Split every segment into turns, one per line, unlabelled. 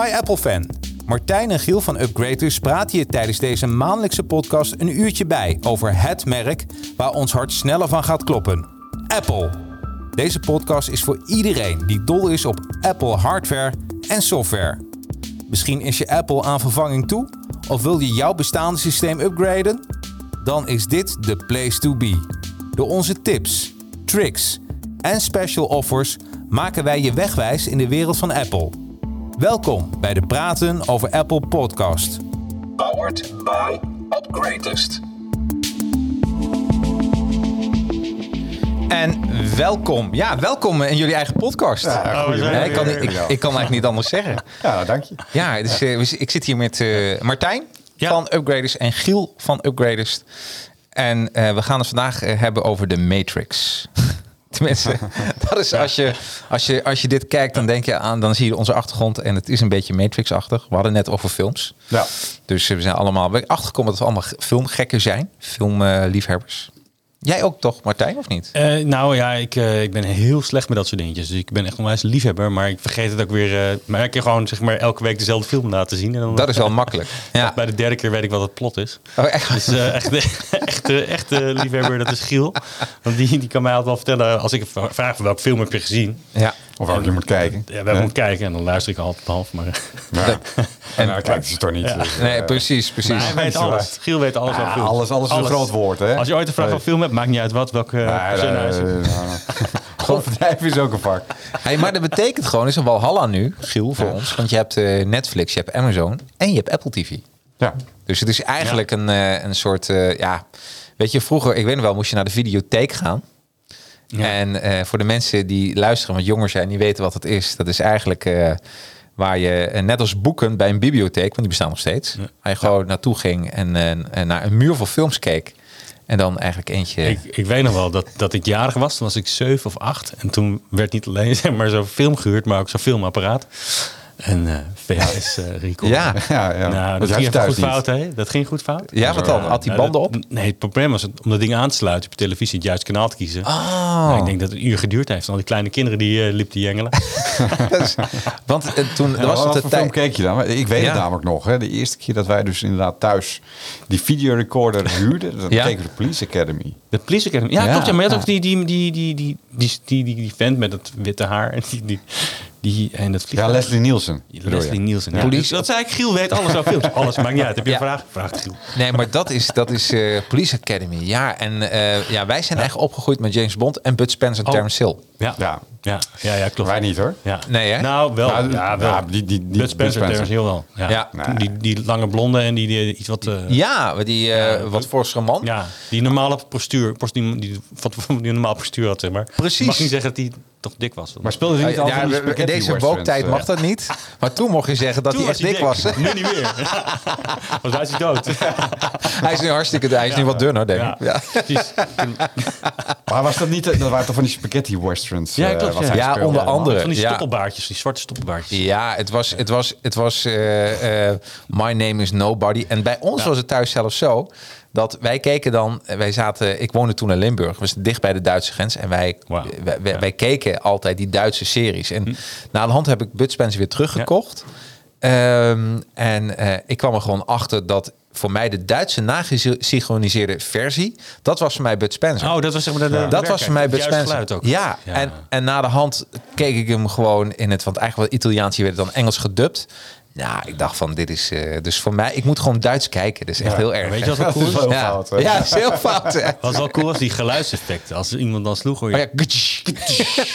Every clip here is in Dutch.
Hi Apple-fan. Martijn en Giel van Upgraders praten je tijdens deze maandelijkse podcast een uurtje bij over het merk waar ons hart sneller van gaat kloppen. Apple. Deze podcast is voor iedereen die dol is op Apple hardware en software. Misschien is je Apple aan vervanging toe? Of wil je jouw bestaande systeem upgraden? Dan is dit de place to be. Door onze tips, tricks en special offers maken wij je wegwijs in de wereld van Apple. Welkom bij de Praten over Apple podcast.
Powered by Upgradest.
En welkom, ja, welkom in jullie eigen podcast.
we zijn
Hè,
er
ik, kan,
weer.
ik, ik kan eigenlijk niet anders zeggen.
Ja, dank je.
Ja, dus, eh, we- ik zit hier met eh, Martijn
Ja.
van Upgraders en Giel van Upgraders. En eh, we gaan het vandaag eh, hebben over de Matrix. Tenminste, dat is als je, als, je, als je dit kijkt, dan denk je aan, dan zie je onze achtergrond en het is een beetje Matrix-achtig. We hadden net over films.
Ja.
Dus eh, we zijn allemaal we zijn achtergekomen dat we allemaal filmgekken zijn, filmliefhebbers. Jij ook toch, Martijn, of niet?
Eh, nou ja, ik, eh, ik ben heel slecht met dat soort dingetjes. Dus ik ben echt een onwijs liefhebber. Maar ik vergeet het ook weer. eh, maar ik kan gewoon zeg maar elke week dezelfde film laten zien. En dan, eh,
Dat is wel makkelijk. Ja.
Bij de derde keer weet ik wat het plot is.
Oh, echt?
Dus eh echt, echt, eh, echt liefhebber, dat is Giel. Want die, die kan mij altijd wel vertellen. Als ik hem vra- vraag van welke film heb je gezien.
Ja.
Of waar je moet kijken.
Ja, wij
Hè?
moeten kijken. En dan luister ik altijd half. Maar
Ja. En nou, kijken ze toch niet. dus, eh,
Nee, precies, precies.
hij weet alles. Giel weet alles over
ah,
films.
alles, alles is een groot woord, hè? eh,
Als je ooit een vraag
Nee.
over film hebt, maakt niet uit wat. Welke
Ja,
uh,
ja, ja, ja, ja. Overdrijven is ook een vak.
Hey, maar dat betekent gewoon, is er wel Halla nu, Giel, voor ons. Want je hebt eh, Netflix, je hebt Amazon en je hebt Apple TV.
Ja.
Dus het is eigenlijk een, eh, een soort, eh, ja... Weet je, vroeger, ik weet nog wel, moest je naar de videotheek gaan. En eh, voor de mensen die luisteren, want jonger zijn, die weten wat het is. Dat is eigenlijk eh, waar je, eh, net als boeken bij een bibliotheek, want die bestaan nog steeds. Waar je gewoon naartoe ging en, eh, en naar een muur vol films keek. En dan eigenlijk eentje...
Ik, ik weet nog wel dat, dat ik jarig was. Toen was ik zeven of acht. En toen werd niet alleen zeg maar, zo'n film gehuurd, maar ook zo'n filmapparaat. En eh, VHS eh recorder.
Ja.
Ja, ja.
Nou,
Want je had
dat
je
ging even
thuis
goed
niet.
fout, hè? Dat ging goed fout.
ja, wat dan? Had die
Nou,
banden
dat-
op?
Nee, het probleem was het- om dat ding aan te sluiten op je televisie, het juiste kanaal te kiezen. Nou, ik denk dat het een uur geduurd heeft. En al die kleine kinderen die eh liepen die jengelen.
Dat is- want eh, toen
Ja,
was
wat
het de
voor film
tijd...
keek je dan? Want Ik weet
Ja.
het namelijk nog. Hè. De eerste keer dat wij dus inderdaad thuis die videorecorder huurden, dat
Ja.
keken we de Police Academy.
De Police Academy. Ja,
Ja,
klopt. Ja, maar je had
ja.
ook die, die, die, die, die, die, die, die, die vent met dat witte haar. En, die, die, die, en dat
Ja,
vliegtuig.
Leslie Nielsen. bedoel je.
Leslie Nielsen. Ja. Dus
Police-
Dat zei ik, Giel weet alles over films. Alles, maakt niet uit. Heb je
Ja.
een vraag? Vraag het Giel.
Nee, maar dat is, dat is eh, Police Academy. Ja, en eh, ja, wij zijn eigenlijk opgegroeid met James Bond en Bud Spencer en
Oh.
Terence Hill.
Ja,
Ja.
ja, ja, ja, klopt.
Wij niet hoor.
Ja.
Nee, hè?
Nou, wel.
Nou,
ja, wel.
ja, die- die- die-
Bud Spencer,
Bud Spencer.
Terrence Hill wel. Ja.
Ja.
Toen Die, die lange blonde en die, die iets wat... eh, ja.
Ja, maar die eh, wat voor man.
die normale postuur, post- die, die, wat voor- die normaal postuur had, zeg maar.
Precies.
Je mag niet zeggen dat hij toch dik was.
Maar speelde ze
Ja,
niet altijd
ja, we-
die
we- in
spaghetti
deze
westerns,
wooktijd
eh?
mag dat niet. Maar toen mocht je zeggen dat
Toen
hij echt dik was.
Nu niet meer. Want hij is hij dood.
Hij is nu hartstikke... Hij is nu wat dunner, denk ik. Ja.
Precies.
Maar was dat niet, eh, dat waren toch van die spaghetti westerns?
Ja,
eh,
klopt,
wat
ja.
hij
Ja,
speelde
onder
allemaal?
andere.
Van die
ja.
stoppelbaardjes, die zwarte stoppelbaardjes.
Ja, het was, het was, het was eh, eh, My Name is Nobody. En bij ons was het thuis zelfs zo dat wij keken dan, wij zaten, ik woonde toen in Limburg, was dicht bij de Duitse grens. En wij,
Wauw. Hm.
wij, wij, wij keken altijd die Duitse series. En na de hand heb ik Bud Spencer weer teruggekocht. Ehm, en eh, ik kwam er gewoon achter dat voor mij de Duitse nagesynchroniseerde versie, dat was voor mij Bud Spencer.
Oh, dat was zeg maar de, de-
Dat was voor mij
het
Bud
juiste
Spencer.
geluid ook.
Ja, En, en na de hand keek ik hem gewoon in het... Want eigenlijk wel Italiaans, hier werd het dan Engels gedubt. Nou, ik dacht van, dit is... eh, dus voor mij, ik moet gewoon Duits kijken. Dat is echt heel erg.
weet je wat wel
Dat
cool
is
is?
wel
ja.
fout, hè?
ja, dat is heel fout. hè.
Wat wel cool was, die geluidseffecten. Als iemand dan sloeg, hoor je...
Maar Oh ja, gutsch, gutsch.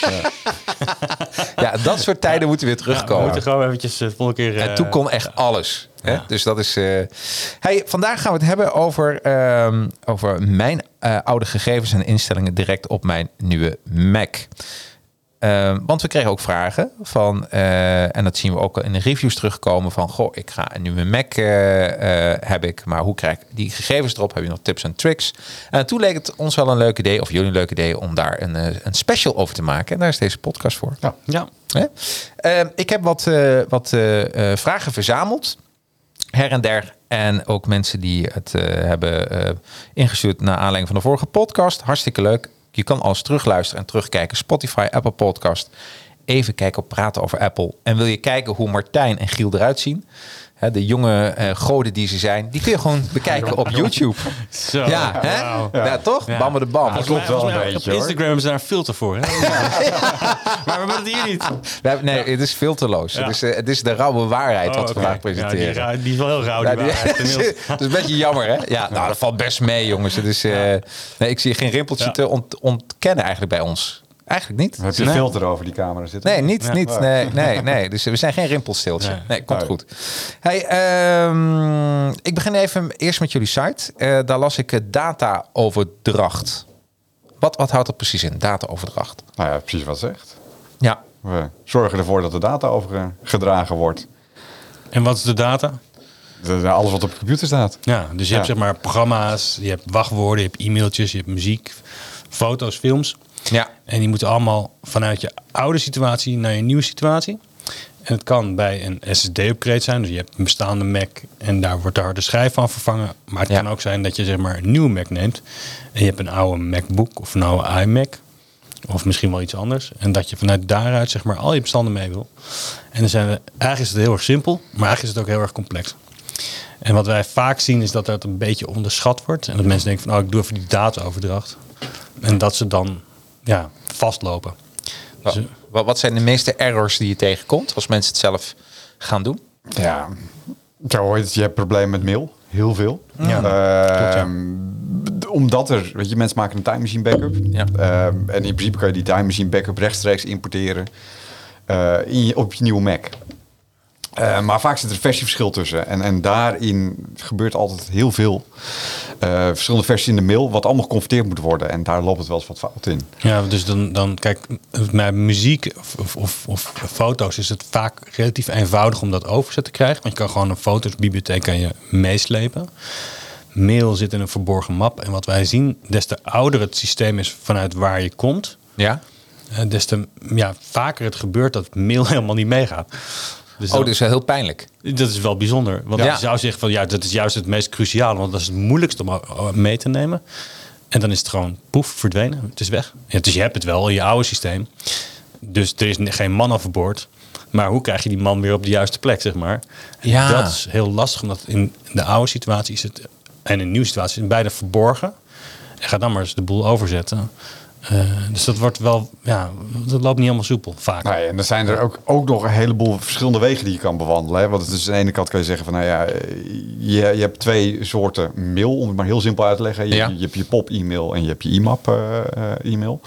ja, dat soort tijden moeten weer
we
terugkomen.
moeten gewoon eventjes de volgende keer...
En
eh,
toen kon echt alles. Hè? Dus dat is. eh, Hey, vandaag gaan we het hebben over, ehm, over mijn eh, oude gegevens en instellingen direct op mijn nieuwe Mac. Ehm, want we kregen ook vragen van, eh, en dat zien we ook in de reviews terugkomen van, goh, ik ga een nieuwe Mac eh, eh, heb ik, maar hoe krijg ik die gegevens erop? Heb je nog tips en tricks? En toen leek het ons wel een leuk idee, of jullie een leuk idee, om daar een, eh, een special over te maken. En daar is deze podcast voor.
Ja.
Hè? Ehm, ik heb wat, eh, wat eh, eh, vragen verzameld. Her en der. En ook mensen die het eh, hebben eh, ingestuurd naar aanleiding van de vorige podcast. Hartstikke leuk. Je kan alles terugluisteren en terugkijken. Spotify, Apple Podcast even kijken op Praten over Apple. En wil je kijken hoe Martijn en Giel eruit zien? Hè, de jonge eh, goden die ze zijn, die kun je gewoon bekijken op YouTube.
Zo.
Ja, hè?
wauw.
Ja, toch?
Ja.
Bammen de bam.
klopt
Volgens
wel
mij-
een beetje,
Op
hoor.
Instagram hebben ze daar een filter voor. Hè? maar we hebben het hier niet.
We hebben- nee, het is filterloos. Het, is, eh, het is de rauwe waarheid
Oh,
wat
oké.
we vandaag
Ja,
presenteren.
die, ra- die is wel heel rauw.
Ja,
die
Oh, die-
waarheid. Inmiddels-
dat is een beetje jammer, hè? Ja, nou, dat valt best mee, jongens. Het is, eh, nee, ik zie geen rimpeltje
Ja.
te ont- ontkennen eigenlijk bij ons. Eigenlijk niet.
Heb je
Nee.
een filter over die camera zitten?
Nee, niet,
Ja.
niet. Nee, nee, nee. Dus we zijn geen rimpelsteeltje. Nee,
Nee.
komt
Nee.
goed. Hey, ehm, ik begin even eerst met jullie site. Eh, daar las ik eh, dataoverdracht. Wat, wat houdt dat precies in, dataoverdracht?
Nou ja, precies wat zegt.
Ja,
We zorgen ervoor dat de data overgedragen wordt.
En wat is de data?
Dat- Alles wat op de computer staat.
Ja, dus je hebt
Ja.
zeg maar programma's, je hebt wachtwoorden, je hebt e-mailtjes, je hebt muziek, foto's, films.
Ja.
En die moeten allemaal vanuit je oude situatie naar je nieuwe situatie. En het kan bij een SSD-upgrade zijn. Dus je hebt een bestaande Mac en daar wordt de harde schijf van vervangen. Maar het
Ja.
kan ook zijn dat je zeg maar een nieuwe Mac neemt. En je hebt een oude MacBook of een oude iMac. Of misschien wel iets anders. En dat je vanuit daaruit zeg maar al je bestanden mee wil. En dan zijn we, eigenlijk is het heel erg simpel. Maar eigenlijk is het ook heel erg complex. En wat wij vaak zien is dat dat een beetje onderschat wordt. En dat mensen denken van, oh, ik doe even die dataoverdracht. En dat ze dan ja, vastlopen. Dus,
Wa- wa- wat zijn de meeste errors die je tegenkomt als mensen het zelf gaan doen?
Ja. Zo hoor je het, je hebt problemen met mail. Heel veel.
Ja,
Ehm,
klopt, ja.
d- Omdat er, weet je, mensen maken een time machine backup.
Ja.
Ehm, en in principe kan je die time machine backup rechtstreeks importeren eh, in je, op je nieuwe Mac. Eh, maar vaak zit er een versieverschil tussen. En, en daarin gebeurt altijd heel veel. Eh, verschillende versies in de mail, wat allemaal geconfronteerd moet worden. En daar loopt het wel eens wat fout in.
ja, dus dan, dan kijk, met muziek of, of, of, of foto's is het vaak relatief eenvoudig om dat overzet te krijgen. Want je kan gewoon een fotosbibliotheek kan je meeslepen. Mail zit in een verborgen map. En wat wij zien, des te ouder het systeem is vanuit waar je komt,
Ja.
eh, des te ja, vaker het gebeurt dat mail helemaal niet meegaat. Dus
Oh,
dan-
dat is wel heel pijnlijk.
Dat is wel bijzonder. Want
Ja.
je zou zeggen van ja, dat is juist het meest cruciale. Want dat is het moeilijkste om eh, mee te nemen. En dan is het gewoon poef, verdwenen. Het is weg. Ja, dus je hebt het wel in je oude systeem. Dus er is ne- geen man overboord. Maar hoe krijg je die man weer op de juiste plek, zeg maar? En
Ja.
Dat is heel lastig, omdat in de oude situatie is het... en in de nieuwe situatie is het beide verborgen. En ga dan maar eens de boel overzetten. Eh, dus dat wordt wel... Ja, dat loopt niet helemaal soepel, vaak.
Nou ja, en er zijn er ook, ook nog een heleboel verschillende wegen die je kan bewandelen. Hè? Want het is aan de ene kant kan je zeggen van, nou ja, eh, je, je hebt twee soorten mail, om het maar heel simpel uit te leggen. Je,
Ja.
je hebt je pop-e-mail en je hebt je IMAP eh, eh, e-mail.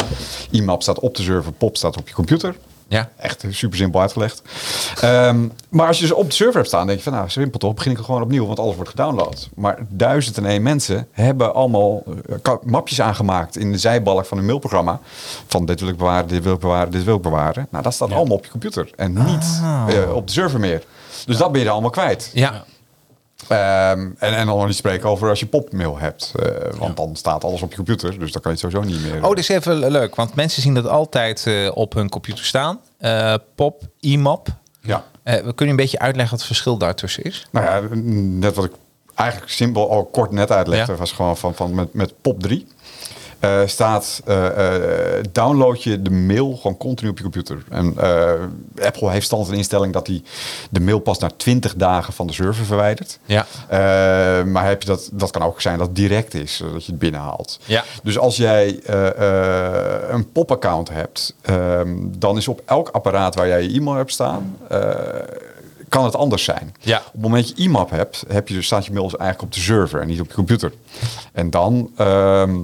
IMAP staat op de server, pop staat op je computer.
Ja.
Echt super simpel uitgelegd. Ehm, maar als je ze op de server hebt staan, denk je van, nou, simpel toch, begin ik gewoon opnieuw, want alles wordt gedownload. Maar duizend en één mensen hebben allemaal eh, ka- mapjes aangemaakt in de zijbalk van hun mailprogramma. Van dit wil ik bewaren, dit wil ik bewaren, dit wil ik bewaren. Nou, dat staat allemaal op je computer en niet eh, op de server meer. Dus dat ben je er allemaal kwijt.
Ja.
Ehm, en, en dan nog niet spreken over als je popmail hebt. eh, want dan staat alles op je computer, dus dan kan je het sowieso niet meer.
Oh, dat is even leuk, want mensen zien dat altijd eh, op hun computer staan. Eh, pop, IMAP.
Ja.
Eh, we kunnen een beetje uitleggen wat het verschil daartussen is.
Nou ja, net wat ik eigenlijk simpel al kort net uitlegde,
Ja.
was gewoon van, van met, met POP 3. eh, staat, eh, eh, download je de mail gewoon continu op je computer. En eh, Apple heeft standaard een instelling dat hij de mail pas na 20 dagen van de server verwijdert.
Ja.
Eh, maar heb je dat, dat kan ook zijn dat het direct is, eh, dat je het binnenhaalt.
Ja.
Dus als jij eh, eh, een pop-account hebt, ehm, dan is op elk apparaat waar jij je e-mail hebt staan, eh, kan het anders zijn.
Ja.
Op het moment dat je IMAP hebt, heb je, dus- staat je mail dus eigenlijk op de server en niet op je computer. En dan ehm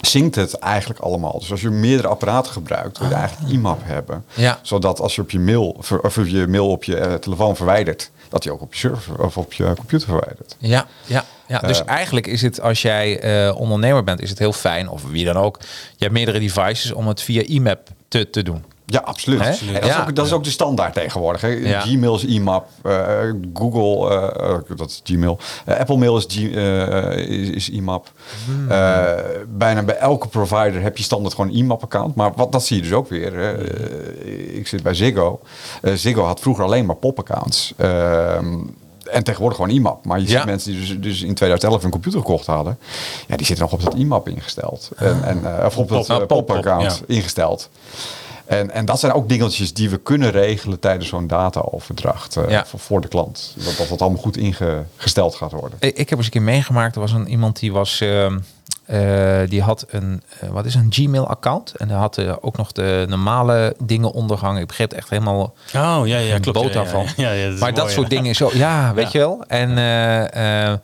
zinkt het eigenlijk allemaal. Dus als je meerdere apparaten gebruikt, wil je eigenlijk IMAP hebben.
Ah. Ja.
Zodat als je op je mail, ver- of je mail op je eh, telefoon verwijdert, dat die ook op je server of op je computer verwijdert.
Ja, ja, ja. dus eigenlijk is het als jij eh, ondernemer bent, is het heel fijn, of wie dan ook. Je hebt meerdere devices om het via IMAP te, te doen.
Ja, absoluut.
Hè?
En dat,
Ja.
is ook, dat is ook de standaard tegenwoordig. Hè?
Ja.
Gmail is IMAP, eh, Google, eh, eh, dat is Gmail. Eh, Apple Mail is, G, eh, is, is IMAP. Eh, bijna bij elke provider heb je standaard gewoon een IMAP-account. Maar wat, dat zie je dus ook weer. hè. Eh, ik zit bij Ziggo. Eh, Ziggo had vroeger alleen maar pop-accounts. Ehm, en tegenwoordig gewoon IMAP. Maar je
Ja.
ziet mensen die dus, dus in 2011 een computer gekocht hadden. Ja, die zitten nog op dat IMAP ingesteld. En, en, eh, of op dat
Pop-
eh,
pop- pop,
pop-account
ja.
ingesteld. En, en dat zijn ook dingetjes die we kunnen regelen tijdens zo'n dataoverdracht eh,
Ja.
voor, voor de klant. Dat dat, dat allemaal goed ingesteld gaat worden.
Ik, ik heb eens een keer meegemaakt. Er was een, iemand die was. ehm, eh, die had een, eh, wat is het, een Gmail-account. En daar had eh, ook nog de normale dingen onderhangen. Ik begreep echt helemaal
Oh, ja, ja,
een
klopt.
boot
ja, ja,
daarvan.
ja, ja, ja, dat is
maar dat
mooi,
soort
ja.
dingen zo. Ja, weet je wel. En, eh, eh,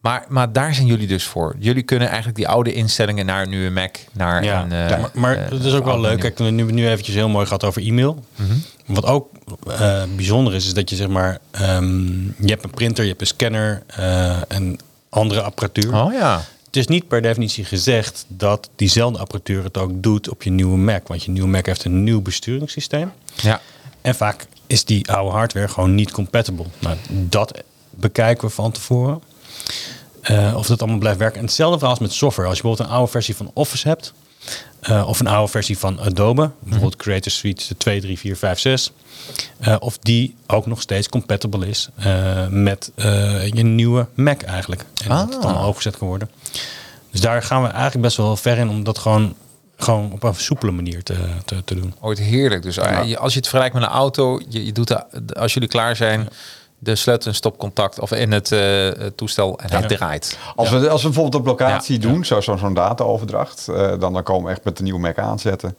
maar, maar daar zijn jullie dus voor. Jullie kunnen eigenlijk die oude instellingen naar nu een Mac. Naar
Ja,
een, eh,
maar, maar
eh,
dat is ook wel
oude
leuk.
menu.
Kijk, we hebben nu eventjes heel mooi gehad over e-mail.
Mhm.
Wat ook eh, bijzonder is, is dat je zeg maar... ehm, je hebt een printer, je hebt een scanner eh, en andere apparatuur.
Oh ja.
Het is niet per definitie gezegd dat diezelfde apparatuur het ook doet op je nieuwe Mac. Want je nieuwe Mac heeft een nieuw besturingssysteem.
ja.
En vaak is die oude hardware gewoon niet compatible. Nou, dat bekijken we van tevoren. Eh, of dat allemaal blijft werken. En hetzelfde verhaal als met software. Als je bijvoorbeeld een oude versie van Office hebt. eh, of een oude versie van Adobe. Bijvoorbeeld Creator Suite 2, 3, 4, 5, 6. eh, of die ook nog steeds compatible is eh, met eh, je nieuwe Mac eigenlijk. En dat het dan overgezet kan worden. Dus daar gaan we eigenlijk best wel ver in om dat gewoon, gewoon op een soepele manier te, te, te doen.
Ooit heerlijk. Dus eh, je- als je het vergelijkt met een auto, je, je doet de, de- als jullie klaar zijn, de sleutel en stopcontact of in het eh, het toestel en het draait.
Als, we, als we bijvoorbeeld op locatie
Ja,
doen, zo- zo- zo'n dataoverdracht, eh, dan, dan komen we echt met de nieuwe Mac aanzetten.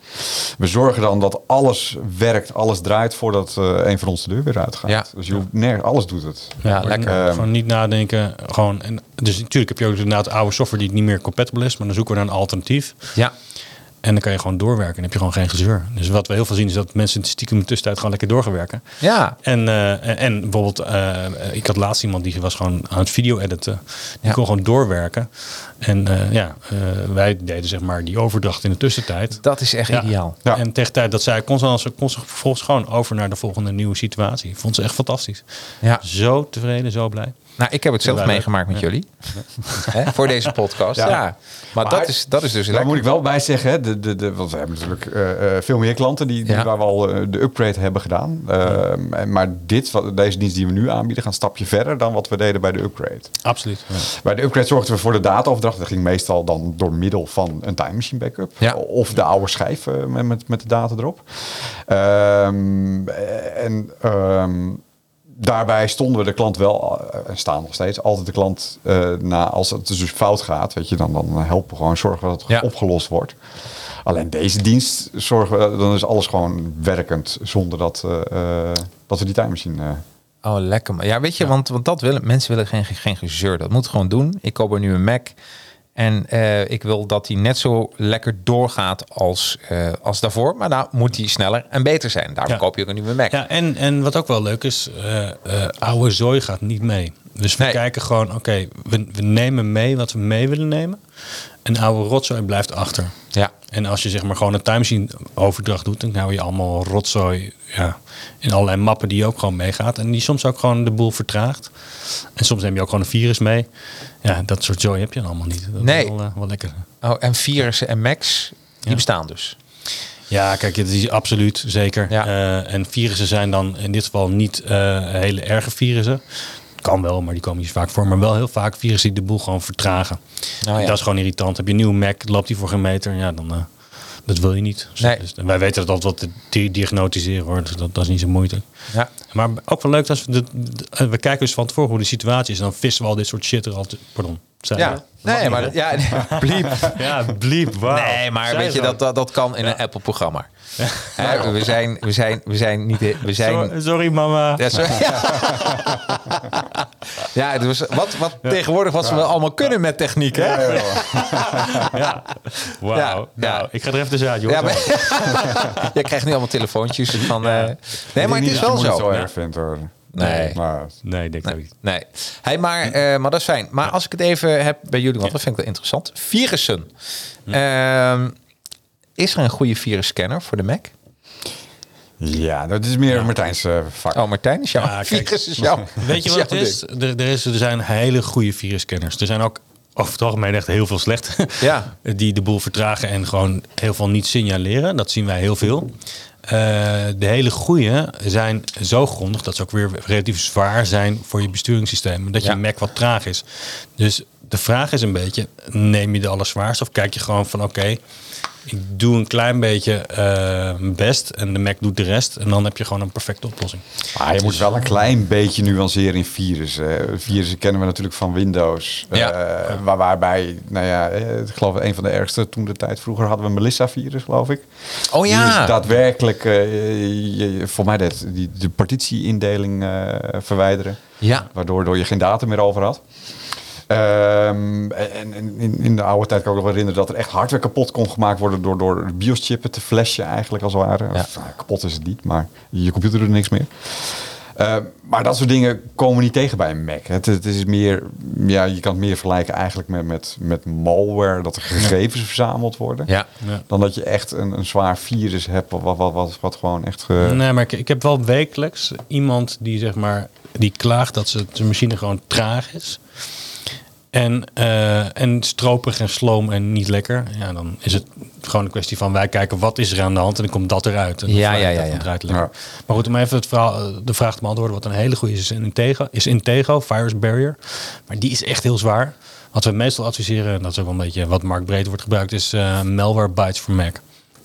We zorgen dan dat alles werkt, alles draait voordat eh, een van ons de deur weer uitgaat.
Ja.
Dus je hoeft nergens, alles doet het.
Ja, lekker.
Ehm,
gewoon niet nadenken. Gewoon, en, dus natuurlijk heb je ook inderdaad oude software die niet meer compatible is. Maar dan zoeken we naar een alternatief.
Ja,
En dan kan je gewoon doorwerken. Dan heb je gewoon geen gezeur. Dus wat we heel veel zien is dat mensen stiekem in de tussentijd gewoon lekker doorgewerken.
ja.
En, eh, en, en bijvoorbeeld, eh, ik had laatst iemand die was gewoon aan het video editen. Die
Ja.
kon gewoon doorwerken. En eh, ja, eh, wij deden zeg maar die overdracht in de tussentijd.
Dat is echt
Ja.
ideaal.
Ja.
En tegen de tijd dat zij kon ze, dan- kon ze vervolgens gewoon over naar de volgende nieuwe situatie. Vond ze echt fantastisch.
Ja.
Zo tevreden, zo blij.
Nou, ik heb het zelf
Ja, leuk.
meegemaakt met jullie. Hè, voor deze podcast. Ja.
Ja.
Maar, dat,
Maar-
is, dat is dus
Daar
lekker.
moet ik wel bij zeggen, hè, de, de, de, want we hebben natuurlijk eh, eh, veel meer klanten die, die
Ja.
waar we al eh, de upgrade hebben gedaan. Ehm, en- maar dit, wat, deze dienst die we nu aanbieden, gaat een stapje verder dan wat we deden bij de upgrade.
Absoluut. Ja.
Bij de upgrade zorgden we voor de dataoverdracht. Dat ging meestal dan door middel van een time machine backup.
Ja.
Of de oude schijf eh, met, met, met de data erop. Ehm, en ehm, daarbij stonden we de klant wel, eh, en staan nog steeds, altijd de klant eh, na als het dus fout gaat. Weet je, dan, dan helpen we gewoon zorgen dat het
Ja.
opgelost wordt. Alleen deze dienst zorgen we, dan is alles gewoon werkend zonder dat, eh, eh, dat we die time machine. eh,
Oh, lekker. Maar ja, weet je, want, want dat willen mensen willen geen, geen gezeur. Dat moet gewoon doen. Ik koop er nu een Mac. En eh, ik wil dat die net zo lekker doorgaat als, eh, als daarvoor. Maar nou moet die sneller en beter zijn. Daarom
Ja.
koop je ook een nieuwe Mac.
Ja, en, en wat ook wel leuk is, eh, eh, oude zooi gaat niet mee. Dus we
Nee.
kijken gewoon, oké, we, we nemen mee wat we mee willen nemen. En oude rotzooi blijft achter.
Ja.
En als je zeg maar gewoon een timemachine overdracht doet, dan hou je allemaal rotzooi ja, in allerlei mappen die ook gewoon meegaat. En die soms ook gewoon de boel vertraagt. En soms neem je ook gewoon een virus mee. Ja, dat soort zooi heb je dan allemaal niet. Dat
Nee.
is wel, eh, wel lekker.
Oh, en virussen en Macs, die
Ja.
bestaan dus.
Ja, kijk, het is absoluut zeker.
Ja.
Eh, en virussen zijn dan in dit geval niet eh, hele erge virussen. Kan wel, maar die komen niet zo vaak voor. Maar wel heel vaak virussen die de boel gewoon vertragen.
Nou ja.
Dat is gewoon irritant. Heb je een nieuwe Mac, loopt die voor geen meter. Ja, dan eh, dat wil je niet. Dus-
Nee.
dus- en wij weten dat altijd wat te di- diagnosticeren hoor. Dus dat, dat is niet zo moeilijk.
Ja.
Maar ook wel leuk dat we, de, de- eh, we kijken dus van tevoren hoe de situatie is. En dan vissen we al dit soort shit er altijd. Pardon. Zei je
Ja,
dat? Dat mag
nee,
niet,
maar
hè?
dat- ja, nee. bliep.
Ja, bliep. wauw.
Nee, maar
Zei
weet je,
gewoon.
dat, dat, dat kan in een Apple-programma. Hè, We, zijn, we, zijn, we zijn niet... de- We zijn,
Sorry, sorry, mama.
Ja, sorry. ja, het was, wat, wat tegenwoordig wat we allemaal kunnen met techniek, hè? Ja,
Ja, wauw.
Ja,
nou,
ja.
ik ga er even tussenuit, joh.
maar, je krijgt nu allemaal telefoontjes van... eh, nee, maar het is
ik denk niet dat je
wel
moet het
zo.
erg vindt hoor.
Nee.
Maar
Nee, ik denk ik niet.
Nee, hey, maar, eh, maar dat is fijn. Maar als ik het even heb bij jullie, want dat vind ik wel interessant. Virussen. Ehm, is er een goede virusscanner voor de Mac?
Ja, dat is meer Martijn's eh, vak.
Oh, Martijn, is jouw
Ja, kijk.
virus is jouw
Weet je
is
wat het
jouw
is? Er, er is? er zijn hele goede virusscanners. Er zijn ook over het algemeen echt heel veel slecht.
Ja.
Die de boel vertragen en gewoon heel veel niet signaleren. Dat zien wij heel veel. Eh, de hele goede zijn zo grondig dat ze ook weer relatief zwaar zijn voor je besturingssysteem. Dat je
Ja.
Mac wat traag is. Dus de vraag is een beetje, neem je de allerzwaarste of kijk je gewoon van oké, ik doe een klein beetje eh, mijn best en de Mac doet de rest. En dan heb je gewoon een perfecte oplossing.
Maar je
Dus-
moet wel een klein beetje nuanceren in virussen. Virussen kennen we natuurlijk van Windows.
Ja.
eh, waar, waarbij, nou ja, eh, ik geloof een van de ergste toen de tijd. Vroeger hadden we een Melissa-virus, geloof ik.
Oh
Die
ja.
is daadwerkelijk, eh, je- voor mij deed die, de partitie-indeling eh, verwijderen.
Ja.
Waardoor door je geen data meer over had. Ehm, en en in, in de oude tijd kan ik me nog herinneren dat er echt hardware kapot kon gemaakt worden door, door BIOS-chippen te flashen eigenlijk als het ware. Of, nou, kapot is het niet, maar je computer doet niks meer. Ehm, maar dat soort dingen komen niet tegen bij een Mac. Het, het is meer, ja, je kan het meer vergelijken eigenlijk met, met, met malware, dat er gegevens verzameld worden.
Ja.
Ja.
Dan dat je echt een, een zwaar virus hebt, wat, wat, wat, wat gewoon echt... ge-
eh,
Nee, maar ik, ik heb wel wekelijks iemand die zeg maar die klaagt dat ze, de machine gewoon traag is. En, eh, en stroperig en sloom en niet lekker. Ja, dan is het gewoon een kwestie van wij kijken wat is er aan de hand en dan komt dat eruit. En dan
Ja,
vraag je
ja,
dat,
ja,
dan
ja.
draait het lekker. Maar goed, om even het verhaal, eh, de vraag te beantwoorden, wat een hele goede is, in Intego, is Intego, Virus Barrier. Maar die is echt heel zwaar. Wat we meestal adviseren, en dat is ook wel een beetje wat Mark Breed wordt gebruikt, is eh, Malware Bytes voor Mac.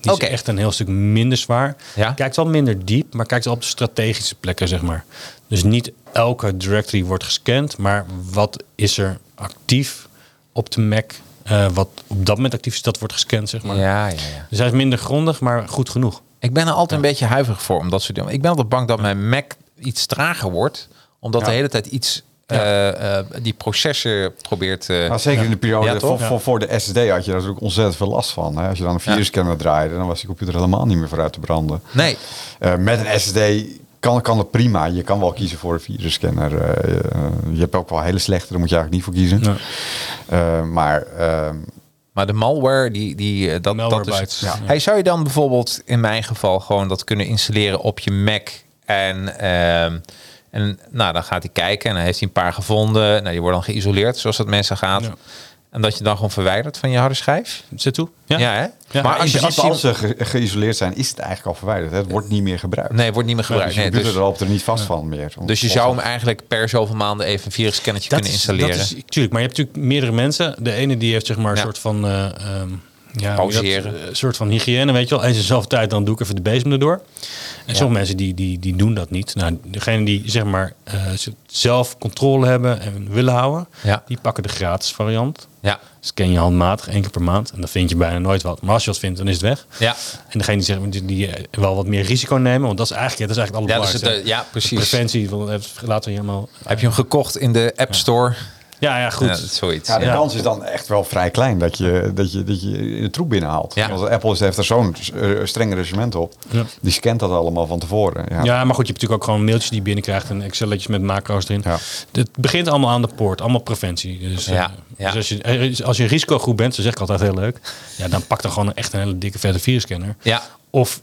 Die
Oké.
is echt een heel stuk minder zwaar.
Ja.
Kijkt wel minder diep, maar kijkt wel op de strategische plekken, zeg maar. Dus niet elke directory wordt gescand, maar wat is er actief op de Mac? eh, wat op dat moment actief is, dat wordt gescand, zeg maar.
Ja, ja, ja.
Dus hij is minder grondig, maar goed genoeg.
Ik ben er altijd een beetje huiverig voor. Omdat soort dingen. Ik ben altijd bang dat mijn Mac iets trager wordt. Omdat de hele tijd iets eh, eh, die processen probeert... eh,
Nou, zeker in de periode
Ja, toch?
voor,
Ja.
voor, voor de SSD had je daar natuurlijk ontzettend veel last van. Hè? Als je dan een virusscanner draaide, dan was die computer helemaal niet meer vooruit te branden.
Nee.
Eh, met een SSD kan, kan het prima. Je kan wel kiezen voor een virusscanner. Eh, eh, je hebt ook wel hele slechte, daar moet je eigenlijk niet voor kiezen.
Nee.
Eh, maar ehm,
Maar de malware, die, die, eh, dat,
Malware
dat is...
bytes, ja.
Hey, zou je dan bijvoorbeeld in mijn geval gewoon dat kunnen installeren op je Mac? En, ehm, en nou, dan gaat hij kijken en dan heeft hij een paar gevonden. Nou, die worden dan geïsoleerd, zoals dat mensen gaat.
Ja.
En dat je dan gewoon verwijdert van je harde schijf?
Zit toe?
Ja, hè? Maar
in
als je, als
principe,
je-
als ze ge- geïsoleerd zijn, is het eigenlijk al verwijderd. hè? Het wordt niet meer gebruikt.
Nee, wordt niet meer gebruikt.
dus je
Nee,
computer
dus,
loopt er niet vast van meer.
dus je zou hem eigenlijk per zoveel maanden even een virusscannertje kunnen installeren.
Is, dat is, tuurlijk, maar je hebt natuurlijk meerdere mensen. De ene die heeft zeg maar een
Ja.
soort van... eh, ehm, ja,
Pauzeren.
dat, eh, Een soort van hygiëne, weet je wel. En zoveel tijd, dan doe ik even de bezem erdoor. En sommige mensen die, die, die doen dat niet. Nou, degene die zeg maar eh, z- zelf controle hebben en willen houden...
Ja.
die pakken de gratis variant.
Ja.
Scan je handmatig, één keer per maand. En dan vind je bijna nooit wat. Maar als je wat vindt, dan is het weg.
Ja.
En degene die, zeg maar, die, die eh, wel wat meer risico nemen... want dat is eigenlijk, dat is eigenlijk
Ja,
alle
dat is het, eh, ja, precies.
Preventie, want dat laten we helemaal...
Heb je hem gekocht in de App Store?
Ja, ja, goed.
Ja, dat is zoiets.
Ja, de
Ja.
kans is dan echt wel vrij klein dat je, dat je, dat je de troep binnenhaalt.
Ja.
Want Apple heeft er zo'n eh, streng regiment op.
Ja.
Die scant dat allemaal van tevoren. Ja.
Ja, maar goed, je hebt natuurlijk ook gewoon mailtjes die je binnenkrijgt en excelletjes met macro's erin.
Ja.
Het begint allemaal aan de poort, allemaal preventie. Dus, eh,
Ja, ja.
dus als, je, eh, als je een risicogroep bent, dat zeg ik altijd heel leuk, ja, dan pak dan gewoon echt een hele dikke vette virusscanner.
Ja.
Of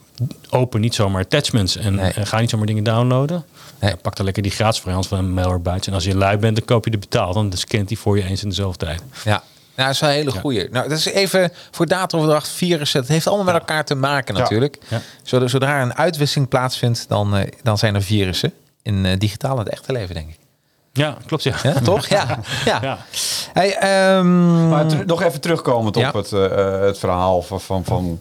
open niet zomaar attachments en
Nee.
eh, ga niet zomaar dingen downloaden.
Nee.
Ja, pak dan lekker die gratis variant van een malware En als je lui bent, dan koop je de betaald. Dan scant die voor je eens in dezelfde tijd.
Ja. Nou, dat is wel een hele goeie. Nou, dat is even voor dataoverdracht, virussen. Het heeft allemaal met elkaar te maken natuurlijk.
Ja.
Zodra, zodra er een uitwisseling plaatsvindt, dan, eh, dan zijn er virussen. In eh, digitaal en het echte leven, denk ik.
Ja, klopt ja.
Ja, toch? Ja. ja.
Ja.
Hey, ehm,
Maar ter- nog even terugkomend
Ja.
op het, eh, het verhaal van, van, van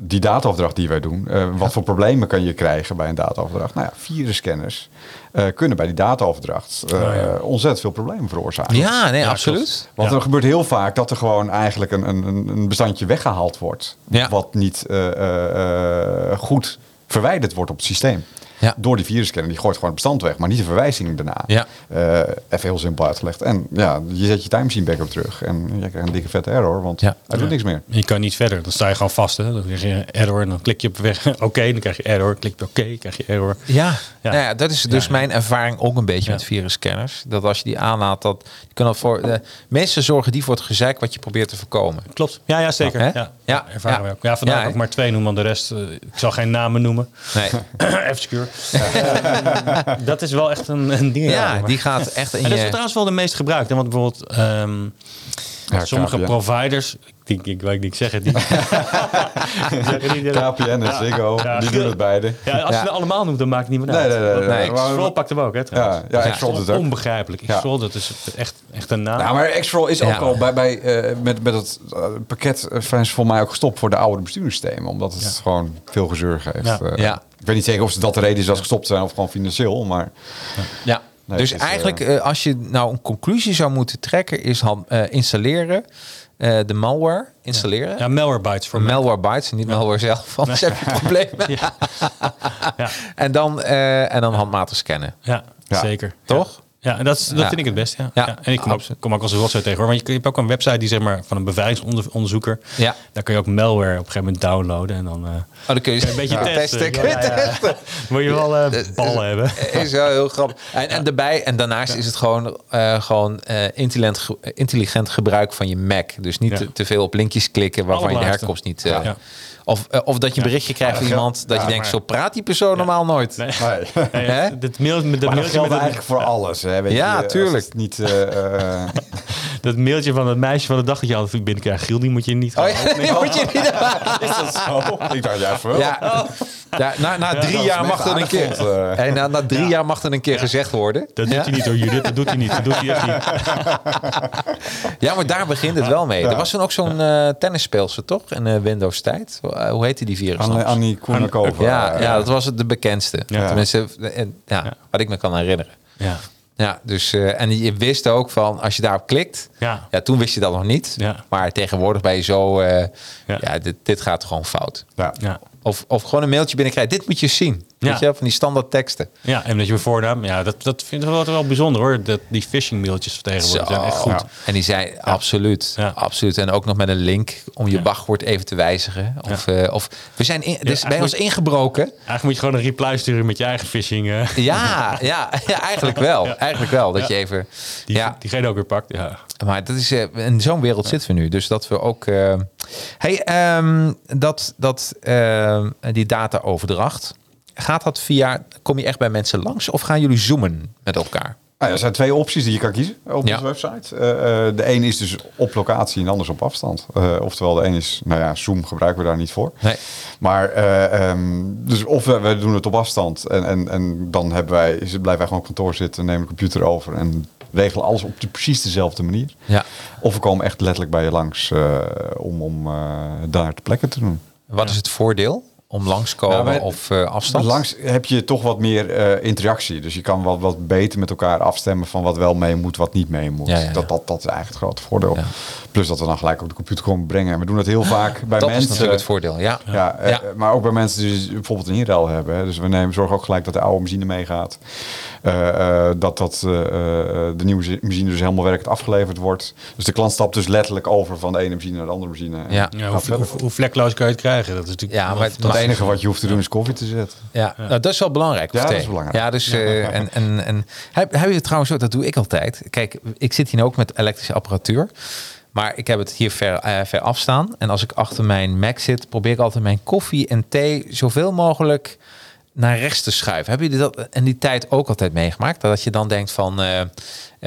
die dataopdracht die wij doen. Eh, wat voor problemen kan je krijgen bij een dataopdracht? Nou ja, virusscanners eh, kunnen bij die dataopdracht eh,
Oh ja.
ontzettend veel problemen veroorzaken.
ja, nee,
Ja,
absoluut.
klopt.
Want
Ja.
er gebeurt heel vaak dat er gewoon eigenlijk een, een, een een bestandje weggehaald wordt.
Ja.
Wat niet eh, eh, eh, goed verwijderd wordt op het systeem.
Ja.
Door die virusscanner. Die gooit gewoon het bestand weg, maar niet de verwijzing daarna.
Ja.
Eh, even heel simpel uitgelegd. En ja, je zet je timesheet back op terug. En je krijgt een dikke vette error, want
Ja.
hij doet niks meer.
Je kan niet verder. Dan sta je gewoon vast. Hè? Dan krijg je error en dan klik je op weg. Oké, dan krijg je error. Klik je oké, krijg je error.
Ja.
Ja.
Nou ja, dat is dus
Ja, ja.
mijn ervaring ook een beetje
Ja.
met virusscanners. Dat als je die aanlaat, dat je kan dat voor de meeste zorgen die voor het gezeik wat je probeert te voorkomen.
Klopt. Ja, ja zeker.
Ja,
Ja,
Oh, hè?
ja.
Ja,
ervaren
ja.
we ook. Ja, vandaag
Ja, hè?
ook maar twee noemen, want de rest, eh, ik zal geen namen noemen.
Nee.
F-secure. dat is wel echt een, een ding.
Ja, die gaat echt in
En dat is
je.
trouwens wel de meest gebruikte. hè, Want bijvoorbeeld ehm,
Ja,
sommige
KPN.
providers, ik Ik, ik weet niet, ik zeg het niet. Ik zeg het niet, ja.
KPN en Ziggo,
Ja.
die doen het beide.
Ja, als
Ja.
je ze allemaal noemt, dan maakt het niemand
Nee,
uit.
nee, nee,
Want,
nee,
eh,
nee, maar-
Xrol pakt hem ook, hè, trouwens.
Ja, ja, Xrol doet het ook.
Onbegrijpelijk.
Ja.
Xrol, dat is echt, echt een naam.
Nou,
Ja, maar Xrol is ook
Ah. Ja.
al bij, bij, eh, met, met het eh, pakket eh, is voor mij ook gestopt voor de oude besturingssystemen. Omdat het gewoon veel gezeur geeft.
Ja.
Eh,
Ja.
Ik weet niet zeker of ze dat de reden is dat ze gestopt zijn of gewoon financieel. Maar
Ja.
Nee,
dus
het is,
eigenlijk, eh, als je nou een conclusie zou moeten trekken, is han- eh, installeren, eh, de malware installeren.
Ja, Malwarebytes voor mij.
Malware bytes, niet malware zelf, anders heb je problemen.
Ja.
En dan, eh, en dan handmatig scannen.
Ja,
Ja.
zeker.
Toch?
Ja, en dat, is, dat
Ja.
vind ik het best. Ja.
Ja,
Ja. En ik kom ook,
absoluut.
kom ook als een rotzooi tegen hoor. Want je, je hebt ook een website die zeg maar van een beveiligingsonderzoeker.
Ja.
Daar kun je ook malware op een gegeven moment downloaden. En dan eh,
Oh, dan kun je
een beetje
Ja.
testen.
testen.
Ja, ja, ja. moet je wel eh, ballen hebben.
Is wel heel grappig. En, en, daarbij, en daarnaast is het gewoon, eh, gewoon eh, intelligent, ge- intelligent gebruik van je Mac. Dus niet
Ja.
te, te veel op linkjes klikken waarvan je de
Allerlaatste.
herkomst niet. eh,
Ja. Ja.
Of, eh, of dat je een berichtje krijgt van iemand dat je denkt, zo praat die persoon normaal nooit. Oh,
nee.
Ja, ja,
eh, Hè?
dat, mail, dat,
Maar dat
mailtje
geldt
met dat-
eigenlijk voor alles. Hè, weet
Ja,
je, als
tuurlijk.
het niet, eh, eh,
dat mailtje van het meisje van de dag dat je altijd binnenkrijgt. Giel, die moet je niet
Oh,
gaan
ja, die moet je niet
is dat zo? Ik dacht, ja, voor
Ja. Ja, na, na drie
dat is
jaar
net
mag dat een keer.
aardig, eh.
Hey, na, na drie jaar mag dat een keer gezegd worden.
Dat
ja?
doet hij niet hoor, Judith. Dat doet hij niet. Dat doet hij echt niet.
ja, maar daar begint het wel mee. Er was toen ook zo'n eh tennisspeelster, toch? In eh, Windows-tijd. Eh, hoe heette die virus?
Anne-
nou?
Annie eh, Koenakova.
ja, ja, dat was het de bekendste.
Ja.
Tenminste, en, ja, wat ik me kan herinneren.
Ja.
Ja, dus, eh, en je wist ook van, als je daarop klikt...
Ja.
toen wist je dat nog niet.
Ja.
Maar tegenwoordig ben je zo... eh, ja.
Ja.
dit, dit gaat gewoon fout.
Ja.
Ja.
Of, of gewoon een mailtje binnenkrijgt. Dit moet je zien.
Ja.
Weet je, wel, van die standaard teksten.
Ja, en dat je voornaam, ja, dat, dat vind ik wel, wel bijzonder hoor. Dat, die phishing mailtjes tegenwoordig zijn echt goed.
En die zei, absoluut,
Ja.
absoluut. En ook nog met een link om je wachtwoord even te wijzigen. Of, eh, of we zijn in, dus bij ons
eigenlijk-
ingebroken.
Eigenlijk moet je gewoon een reply sturen met je eigen phishing. eh,
Ja, ja, ja, eigenlijk wel. Eigenlijk wel. Dat je
Ja.
even...
die,
ja.
Diegene ook weer pakt. Ja.
Maar dat is, eh, in zo'n wereld zitten we nu. Dus dat we ook. eh, hey, ehm, dat, dat, ehm, die dataoverdracht. Gaat dat via. Kom je echt bij mensen langs of gaan jullie zoomen met elkaar?
Nou, ja, er zijn twee opties die je kan kiezen op
Ja.
onze website. Eh, eh, de een is dus op locatie en de ander is op afstand. Eh, oftewel, de een is, nou ja, Zoom gebruiken we daar niet voor.
Nee.
Maar, eh, ehm, dus of we, we doen het op afstand en, en, en dan hebben wij, is het- blijven wij gewoon op kantoor zitten, nemen de computer over en regelen alles op de, precies dezelfde manier.
Ja.
Of we komen echt letterlijk bij je langs eh, om, om eh, daar te plekken te doen.
Wat is het voordeel? Om langskomen
Nou, wij-
of eh, afstand?
Langs heb je toch wat meer eh, interactie. Dus je kan wat, wat beter met elkaar afstemmen van wat wel mee moet, wat niet mee moet.
Ja, ja, ja.
Dat, dat, dat is eigenlijk het grote voordeel.
Ja.
Plus dat we dan gelijk op de computer komen brengen. En we doen dat heel vaak bij
dat is
mensen.
natuurlijk het voordeel. Ja.
ja, eh,
Ja.
eh, maar ook bij mensen die bijvoorbeeld een inruil hebben. hè. Dus we nemen, zorgen ook gelijk dat de oude machine meegaat. Eh, eh, dat dat, eh, eh, de nieuwe machine dus helemaal werkend afgeleverd wordt. Dus de klant stapt dus letterlijk over van de ene machine naar de andere machine. En
Ja.
Ja, hoe, hoe, hoe vlekloos kan je het krijgen? Dat is natuurlijk
Nou, Ja, maar het-
Het enige wat je hoeft te doen is koffie te zetten.
Ja, nou, dat is wel belangrijk.
Ja,
of
dat
thee.
is belangrijk.
Ja, dus, eh, en, en, en heb, heb je het trouwens ook, dat doe ik altijd. Kijk, ik zit hier nu ook met elektrische apparatuur. Maar ik heb het hier ver, eh, ver afstaan. En als ik achter mijn Mac zit, probeer ik altijd mijn koffie en thee zoveel mogelijk naar rechts te schuiven. Hebben jullie dat en die tijd ook altijd meegemaakt? Dat je dan denkt van, eh, eh,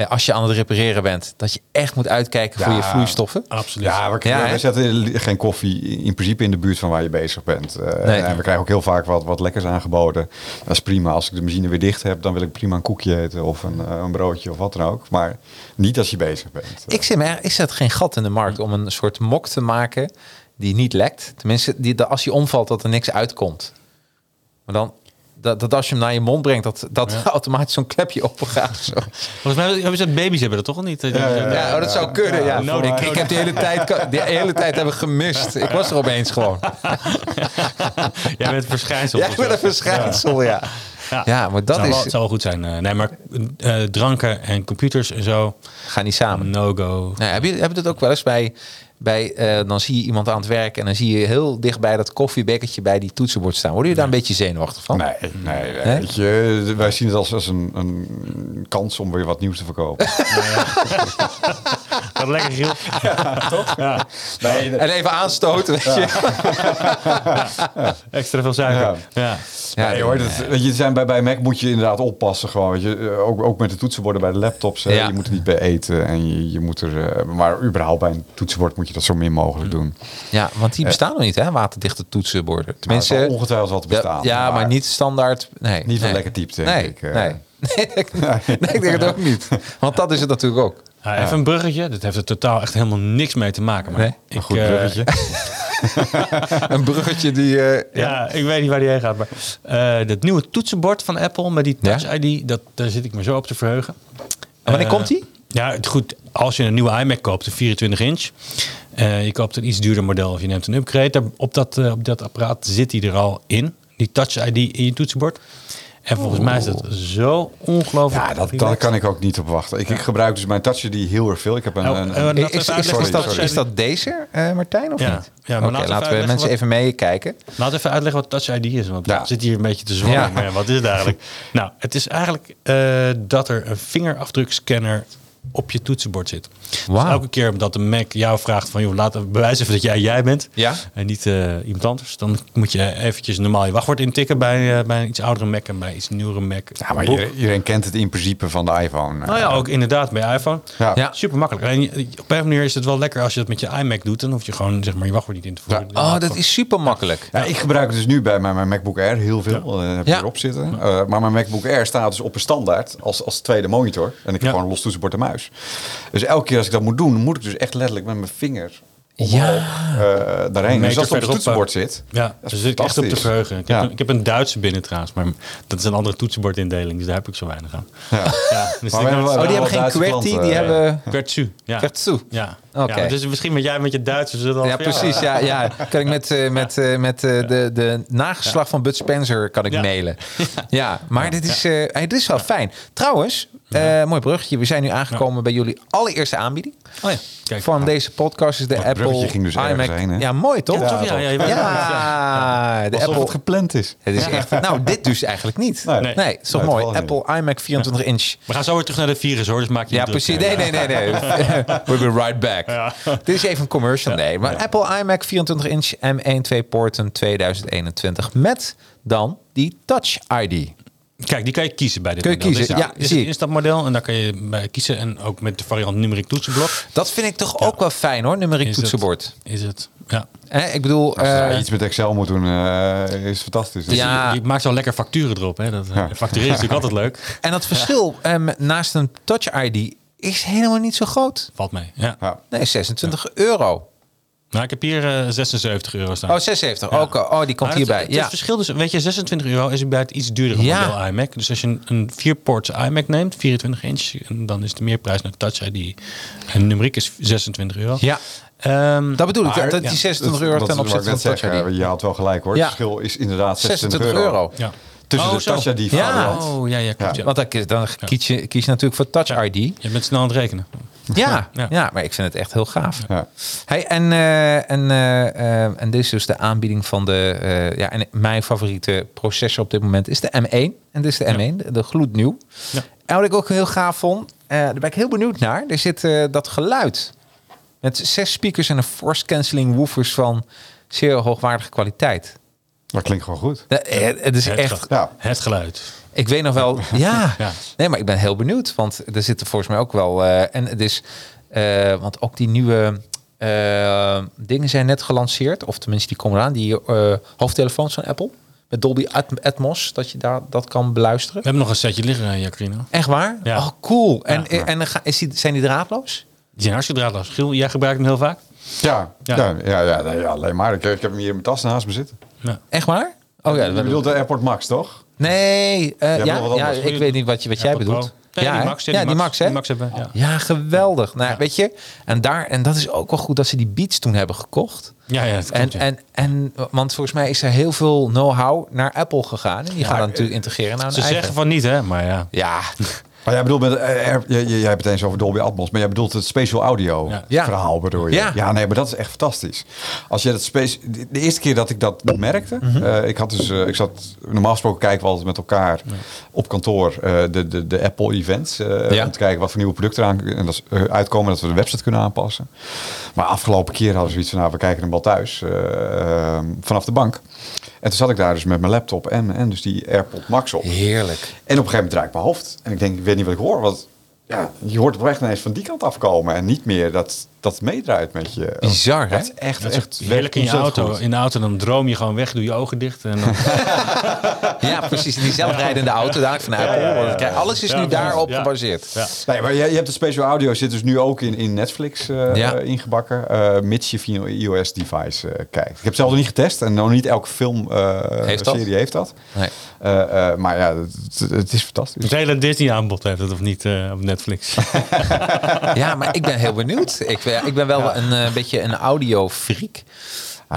als je aan het repareren bent, dat je echt moet uitkijken voor
Ja.
je vloeistoffen?
absoluut.
Ja, we,
Ja,
we-
hè?
we zetten geen koffie in principe in de buurt van waar je bezig bent. Eh,
Nee.
En we krijgen ook heel vaak wat, wat lekkers aangeboden. Dat is prima. Als ik de machine weer dicht heb, dan wil ik prima een koekje eten of een, eh, een broodje of wat dan ook. Maar niet als je bezig bent.
Ik, zit me, er- ik zet geen gat in de markt om een soort mok te maken die niet lekt. Tenminste, die, dat als je omvalt, dat er niks uitkomt. Maar dan, dat, dat als je hem naar je mond brengt, dat, dat automatisch zo'n klepje open gaat. Zo.
Volgens mij hebben ze baby's hebben dat toch al niet?
Ja, oh, dat zou kunnen. Ja,
nodig,
ik, ik
nodig.
heb de hele tijd, ka- de hele tijd hebben gemist. Ik was er opeens gewoon.
Jij bent verschijnsel.
Jij bent een verschijnsel, ja.
Ja.
Ja, maar dat
zou wel,
is,
zou wel goed zijn. Eh, nee, maar eh, dranken en computers en zo,
ga niet samen.
no-go.
Nou, heb, je, heb je dat ook wel eens bij, bij eh, dan zie je iemand aan het werk en dan zie je heel dichtbij dat koffiebekkertje bij die toetsenbord staan. Word je daar een beetje zenuwachtig van?
Nee, nee,
Hè?
weet je, wij zien het als, als een, een kans om weer wat nieuws te verkopen.
Gaat lekker Giel. Toch? Ja.
Nee, dat-
En even aanstoten, weet je.
Extra veel suiker. Ja.
Ja,
nee, hoor, dat, weet je, zijn bij, bij Mac moet je inderdaad oppassen. Gewoon, weet je, Eh, ook, ook met de toetsenborden bij de laptops. hè.
Ja.
Je moet er niet bij eten. En je, je moet er, eh, maar überhaupt bij een toetsenbord moet je dat zo min mogelijk
Mm.
doen.
Ja, want die bestaan nog niet, hè? Waterdichte toetsenborden. Tenminste,
Mensen, zal ongetwijfeld wel te bestaan.
ja, ja, maar, niet standaard. Nee,
Niet veel
nee.
lekker typt, denk
nee,
ik, eh.
Nee. Nee, ik- nee, ik denk het ook niet. Want dat is het natuurlijk ook.
Ja, Ah, even een bruggetje. Dat heeft er totaal echt helemaal niks mee te maken. Maar
Nee,
ik,
Goed
eh,
bruggetje.
Een bruggetje die... eh,
ja, ik weet niet waar die heen gaat. Maar eh, dat nieuwe toetsenbord van Apple met die Touch
Ja?
ID, dat, daar zit ik me zo op te verheugen.
Wanneer
Eh,
komt die?
Ja, het goed. Als je een nieuwe iMac koopt, een 24 inch. eh, je koopt een iets duurder model of je neemt een upgrade. daar- op, dat, eh, op dat apparaat zit die er al in. Die Touch ID in je toetsenbord. En volgens mij is dat zo ongelooflijk.
Ja, dat, daar
relaxed.
kan ik ook niet op wachten. Ik, ik gebruik dus mijn touch die heel erg veel. Ik heb een,
Oh,
een-
eh,
een-
Is, is,
dat even
is
uitleggen.
dat,
Sorry,
is dat deze, eh, Martijn, of
Ja.
niet?
Ja, maar
Oké, laten we
laten we even uitleggen
mensen
wat-
even meekijken.
Laat even uitleggen wat Touch ID is, want
Ja.
ik zit hier een beetje te zwaar.
Ja.
Maar ja, wat is het eigenlijk? nou, het is eigenlijk eh, dat er een vingerafdrukscanner op je toetsenbord zit.
Wauw.
Dus elke keer dat de Mac jou vraagt van, joh, laat even bewijzen dat jij jij bent
Ja.
en niet eh, iemand anders, dan moet je eventjes normaal je wachtwoord intikken bij, eh, bij een iets oudere Mac en bij een iets nieuwere Mac.
Ja, maar iedereen, iedereen kent het in principe van de iPhone. eh.
Nou ja, ook inderdaad bij iPhone.
Ja.
Ja.
Super makkelijk. Alleen je- op een of andere manier is het wel lekker als je dat met je iMac doet. Dan hoef je gewoon zeg maar, je wachtwoord niet in te voeren.
Oh, dat is super makkelijk.
Ja, ik gebruik het dus nu bij mijn, mijn MacBook Air heel veel. eh, heb ik
Ja.
erop zitten. Eh, maar mijn MacBook Air staat dus op een standaard als, als tweede monitor. En ik heb
Ja.
gewoon een los toetsenbord en muis. Dus elke keer als ik dat moet doen, moet ik dus echt letterlijk met mijn vinger omhoog,
Ja.
eh, daarheen.
meter
Dus als het op
verderop,
het toetsenbord
eh,
zit.
Ja,
dat
dus
is
daar zit ik echt op te
fantastisch.
verheugen. Ik,
Ja.
heb een, ik heb een Duitse binnen trouwens, maar dat is een andere toetsenbordindeling, dus daar heb ik zo weinig aan.
Ja.
Ja, dus
Maar we hebben wel-
Oh, die
wel
hebben geen
Duitse
QWERTY,
klanten,
die
eh,
hebben...
Kwertsu. Ja.
QWERTY.
Ja.
Oké.
ja, dus misschien met jij met je Duitsers. is het al
Ja,
van jou.
precies. Ja, ja. Kan ik met, eh, met, eh, met eh, de, de nageslag van Bud Spencer kan ik
Ja.
mailen. Ja, maar dit is, eh, hey, dit is wel fijn. Trouwens,
Mhm.
eh, mooi bruggetje. We zijn nu aangekomen bij jullie allereerste aanbieding.
Oh ja. Kijk.
van deze podcast is de Apple
bruggetje ging dus ergens
iMac.
heen, hè?
ja, mooi toch?
Ja, toch? Ja, ja, je weet het niet,
Ja, de
Alsof
Apple.
het gepland is.
Het is echt. Nou, dit dus eigenlijk niet.
Nee.
Nee, het is toch
Nee,
mooi.
toevallig niet.
Apple iMac 24 inch.
We gaan zo weer terug naar de virus hoor, dus maak je
Ja,
niet druk.
precies. Nee, nee, nee, nee. We'll be right back. Dit is even een commercial. Nee, maar Apple iMac 24 inch M1 2 porten 2021 met dan die Touch ID.
Kijk, die kan je kiezen bij dit
Kun je
model.
kiezen,
Dit is-
ja,
dit is
zie
het
ik.
instapmodel en daar kan je bij kiezen. En ook met de variant numeriek toetsenblok. Is
Dat vind ik toch ook wel fijn hoor, numeriek
het-
toetsenbord.
Is het, ja.
Hè, ik bedoel,
Als je daar
eh,
iets met Excel moet doen, eh, is fantastisch. Dus
Ja.
Je maakt zo lekker facturen erop. Hè. Dat,
Ja.
Factureren is natuurlijk altijd leuk.
en dat verschil em, naast een Touch ID is helemaal niet zo groot.
Valt mee, ja.
ja.
Nee, 26 euro.
Nou, ik heb hier eh, 76 euro staan.
Oh, 76. Ook, eh, oh, die komt
Maar het-
hierbij.
Het,
ja.
verschil dus, weet je, 26 euro is bij het iets duurdere
Ja.
model iMac. Dus als je een, een 4-ports iMac neemt, 24 inch, en dan is de meerprijs naar Touch ID. En numeriek is 26 euro.
Ja.
Ehm,
Dat bedoel ik.
maar,
dat- Dat
ja.
die 26 euro
Dat
ten
is wat ik
opzichte van
net
Touch
zeg,
ID.
eh, Je had wel gelijk hoor.
Ja.
Het verschil is inderdaad 26,
26 euro.
Ja.
Tussen
Oh,
de
zo.
Touch ID
Ja.
variant.
Oh, ja, ja, klopt. Ja.
Want dan, kies- dan kies, je, kies je natuurlijk voor Touch ID.
Je bent snel aan het rekenen.
Ja, ja.
Ja.
maar ik vind het echt heel gaaf.
Ja.
Hey, en, eh, en, eh, eh, en dit is dus de aanbieding van de... eh, ja, en mijn favoriete processor op dit moment is de M1. En dit is de M1, de, de gloednieuw.
Ja.
En wat ik ook heel gaaf vond, eh, daar ben ik heel benieuwd naar. Er zit eh, dat geluid met zes speakers en een force cancelling woofers van zeer hoogwaardige kwaliteit.
Dat klinkt gewoon goed.
Eh, eh, Het is
Het
echt
geluid.
Ja.
Het geluid.
ik weet nog wel, ja.
Ja.
Nee, maar ik ben heel benieuwd, want er zitten volgens mij ook wel... eh, en het is, eh, want ook die nieuwe eh, dingen zijn net gelanceerd. Of tenminste, die komen eraan. Die eh, hoofdtelefoons van Apple. Met Dolby At- Atmos, dat je daar dat kan beluisteren.
We hebben nog een setje liggen, eh, Jacarino.
Echt waar?
Ja.
Oh, cool. En,
Ja.
en ga- is die, zijn die draadloos?
Die zijn hartstikke draadloos. Giel, jij gebruikt hem heel vaak?
Ja, ja.
Ja.
ja, ja, nee, ja, alleen maar. Ik, ik heb hem hier in mijn tas naast me zitten.
Ja.
Echt waar? Oh ja,
Je
dat-
bedoelt de Airport Max, toch?
nee. eh,
wil
ja,
wat anders.
ja, ik weet niet wat, je, wat jij
Apple Pro.
bedoelt.
Nee,
ja,
die
hè?
Max,
ja, die Max, hè?
Die Max hebben, ja.
Ja, geweldig. Nou, Weet je, en, daar, en dat is ook wel goed dat ze die beats toen hebben gekocht.
Ja, ja, dat
en,
klopt, ja.
en, en, want volgens mij is er heel veel know-how naar Apple gegaan. En die gaan dat natuurlijk integreren naar hun
eh, Ze
eigen.
zeggen van niet, hè? Maar ja.
Ja,
Maar jij bedoelt, met, eh, er- jij, jij jij hebt het eens over Dolby Atmos, maar jij bedoelt het special audio
Ja.
Ja.
verhaal bedoel je?
Ja.
nee, maar dat is echt fantastisch. Als je dat space, de de eerste keer dat ik dat merkte,
Mhm.
eh, ik had dus, eh, ik zat normaal gesproken kijken we altijd met elkaar op kantoor eh, de, de, de Apple events eh,
Ja.
om te kijken wat voor nieuwe producten eraan en dat is, eh, uitkomen dat we de website kunnen aanpassen. Maar afgelopen keer hadden we zoiets van, nou, we kijken hem wel thuis eh, eh, vanaf de bank. En toen zat ik daar dus met mijn laptop en, en dus die AirPod Max op.
Heerlijk.
En op een gegeven moment draai ik mijn hoofd. En ik denk, ik weet niet wat ik hoor. Want ja, je hoort het wel echt ineens van die kant afkomen. En niet meer dat dat meedraait met je.
Bizar, hè?
Dat is echt,
Dat is
echt
heerlijk in je
ontzettend
auto.
goed.
In de auto dan droom je gewoon weg, doe je ogen dicht. En dan,
Ja, precies. Die zelfrijdende auto daar van Apple. want het krijgt- Alles is
Ja,
nu
precies.
daarop
Ja.
gebaseerd.
ja.
Nee, maar je, je hebt de special audio zit dus nu ook in, in Netflix eh,
Ja.
eh, ingebakken. eh, mits je via een iOS device eh, kijkt. Ik heb het zelf nog niet getest en nog niet elke film eh,
Heeft dat?
serie heeft dat.
Nee.
Eh, eh, maar ja, het, het is fantastisch.
Het hele Disney-aanbod heeft het of niet eh, op Netflix.
Ja, maar ik ben heel benieuwd. Ik, ben- ik ben wel een eh, beetje een audiofreak.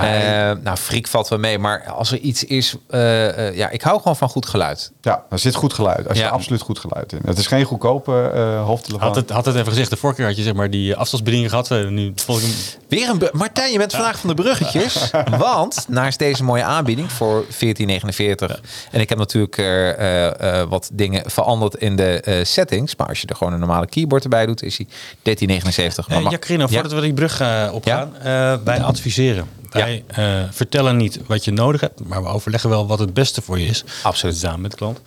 Eh nou, freak valt wel mee, maar als er iets is... eh, eh, ja, ik hou gewoon van goed geluid.
Ja, er zit goed geluid. Er zit
Ja.
absoluut goed geluid in. Het is geen goedkope eh hoofdtelefoon.
Had het, had het even gezegd, de vorige keer had je zeg maar die afstandsbediening gehad. eh, Nu volg ik hem.
Weer een br- Martijn, je bent vandaag van de bruggetjes. Want naast deze mooie aanbieding voor 14,49. En ik heb natuurlijk eh, eh, eh, wat dingen veranderd in de eh, settings. Maar als je er gewoon een normale keyboard erbij doet, is hij 13,79. Maar
Eh,
mag-
Jacarino, voordat we die brug eh, opgaan, eh, wij adviseren. Wij eh, vertellen niet wat je nodig hebt, maar we overleggen wel wat het beste voor je is.
Absoluut.
Samen met de klant.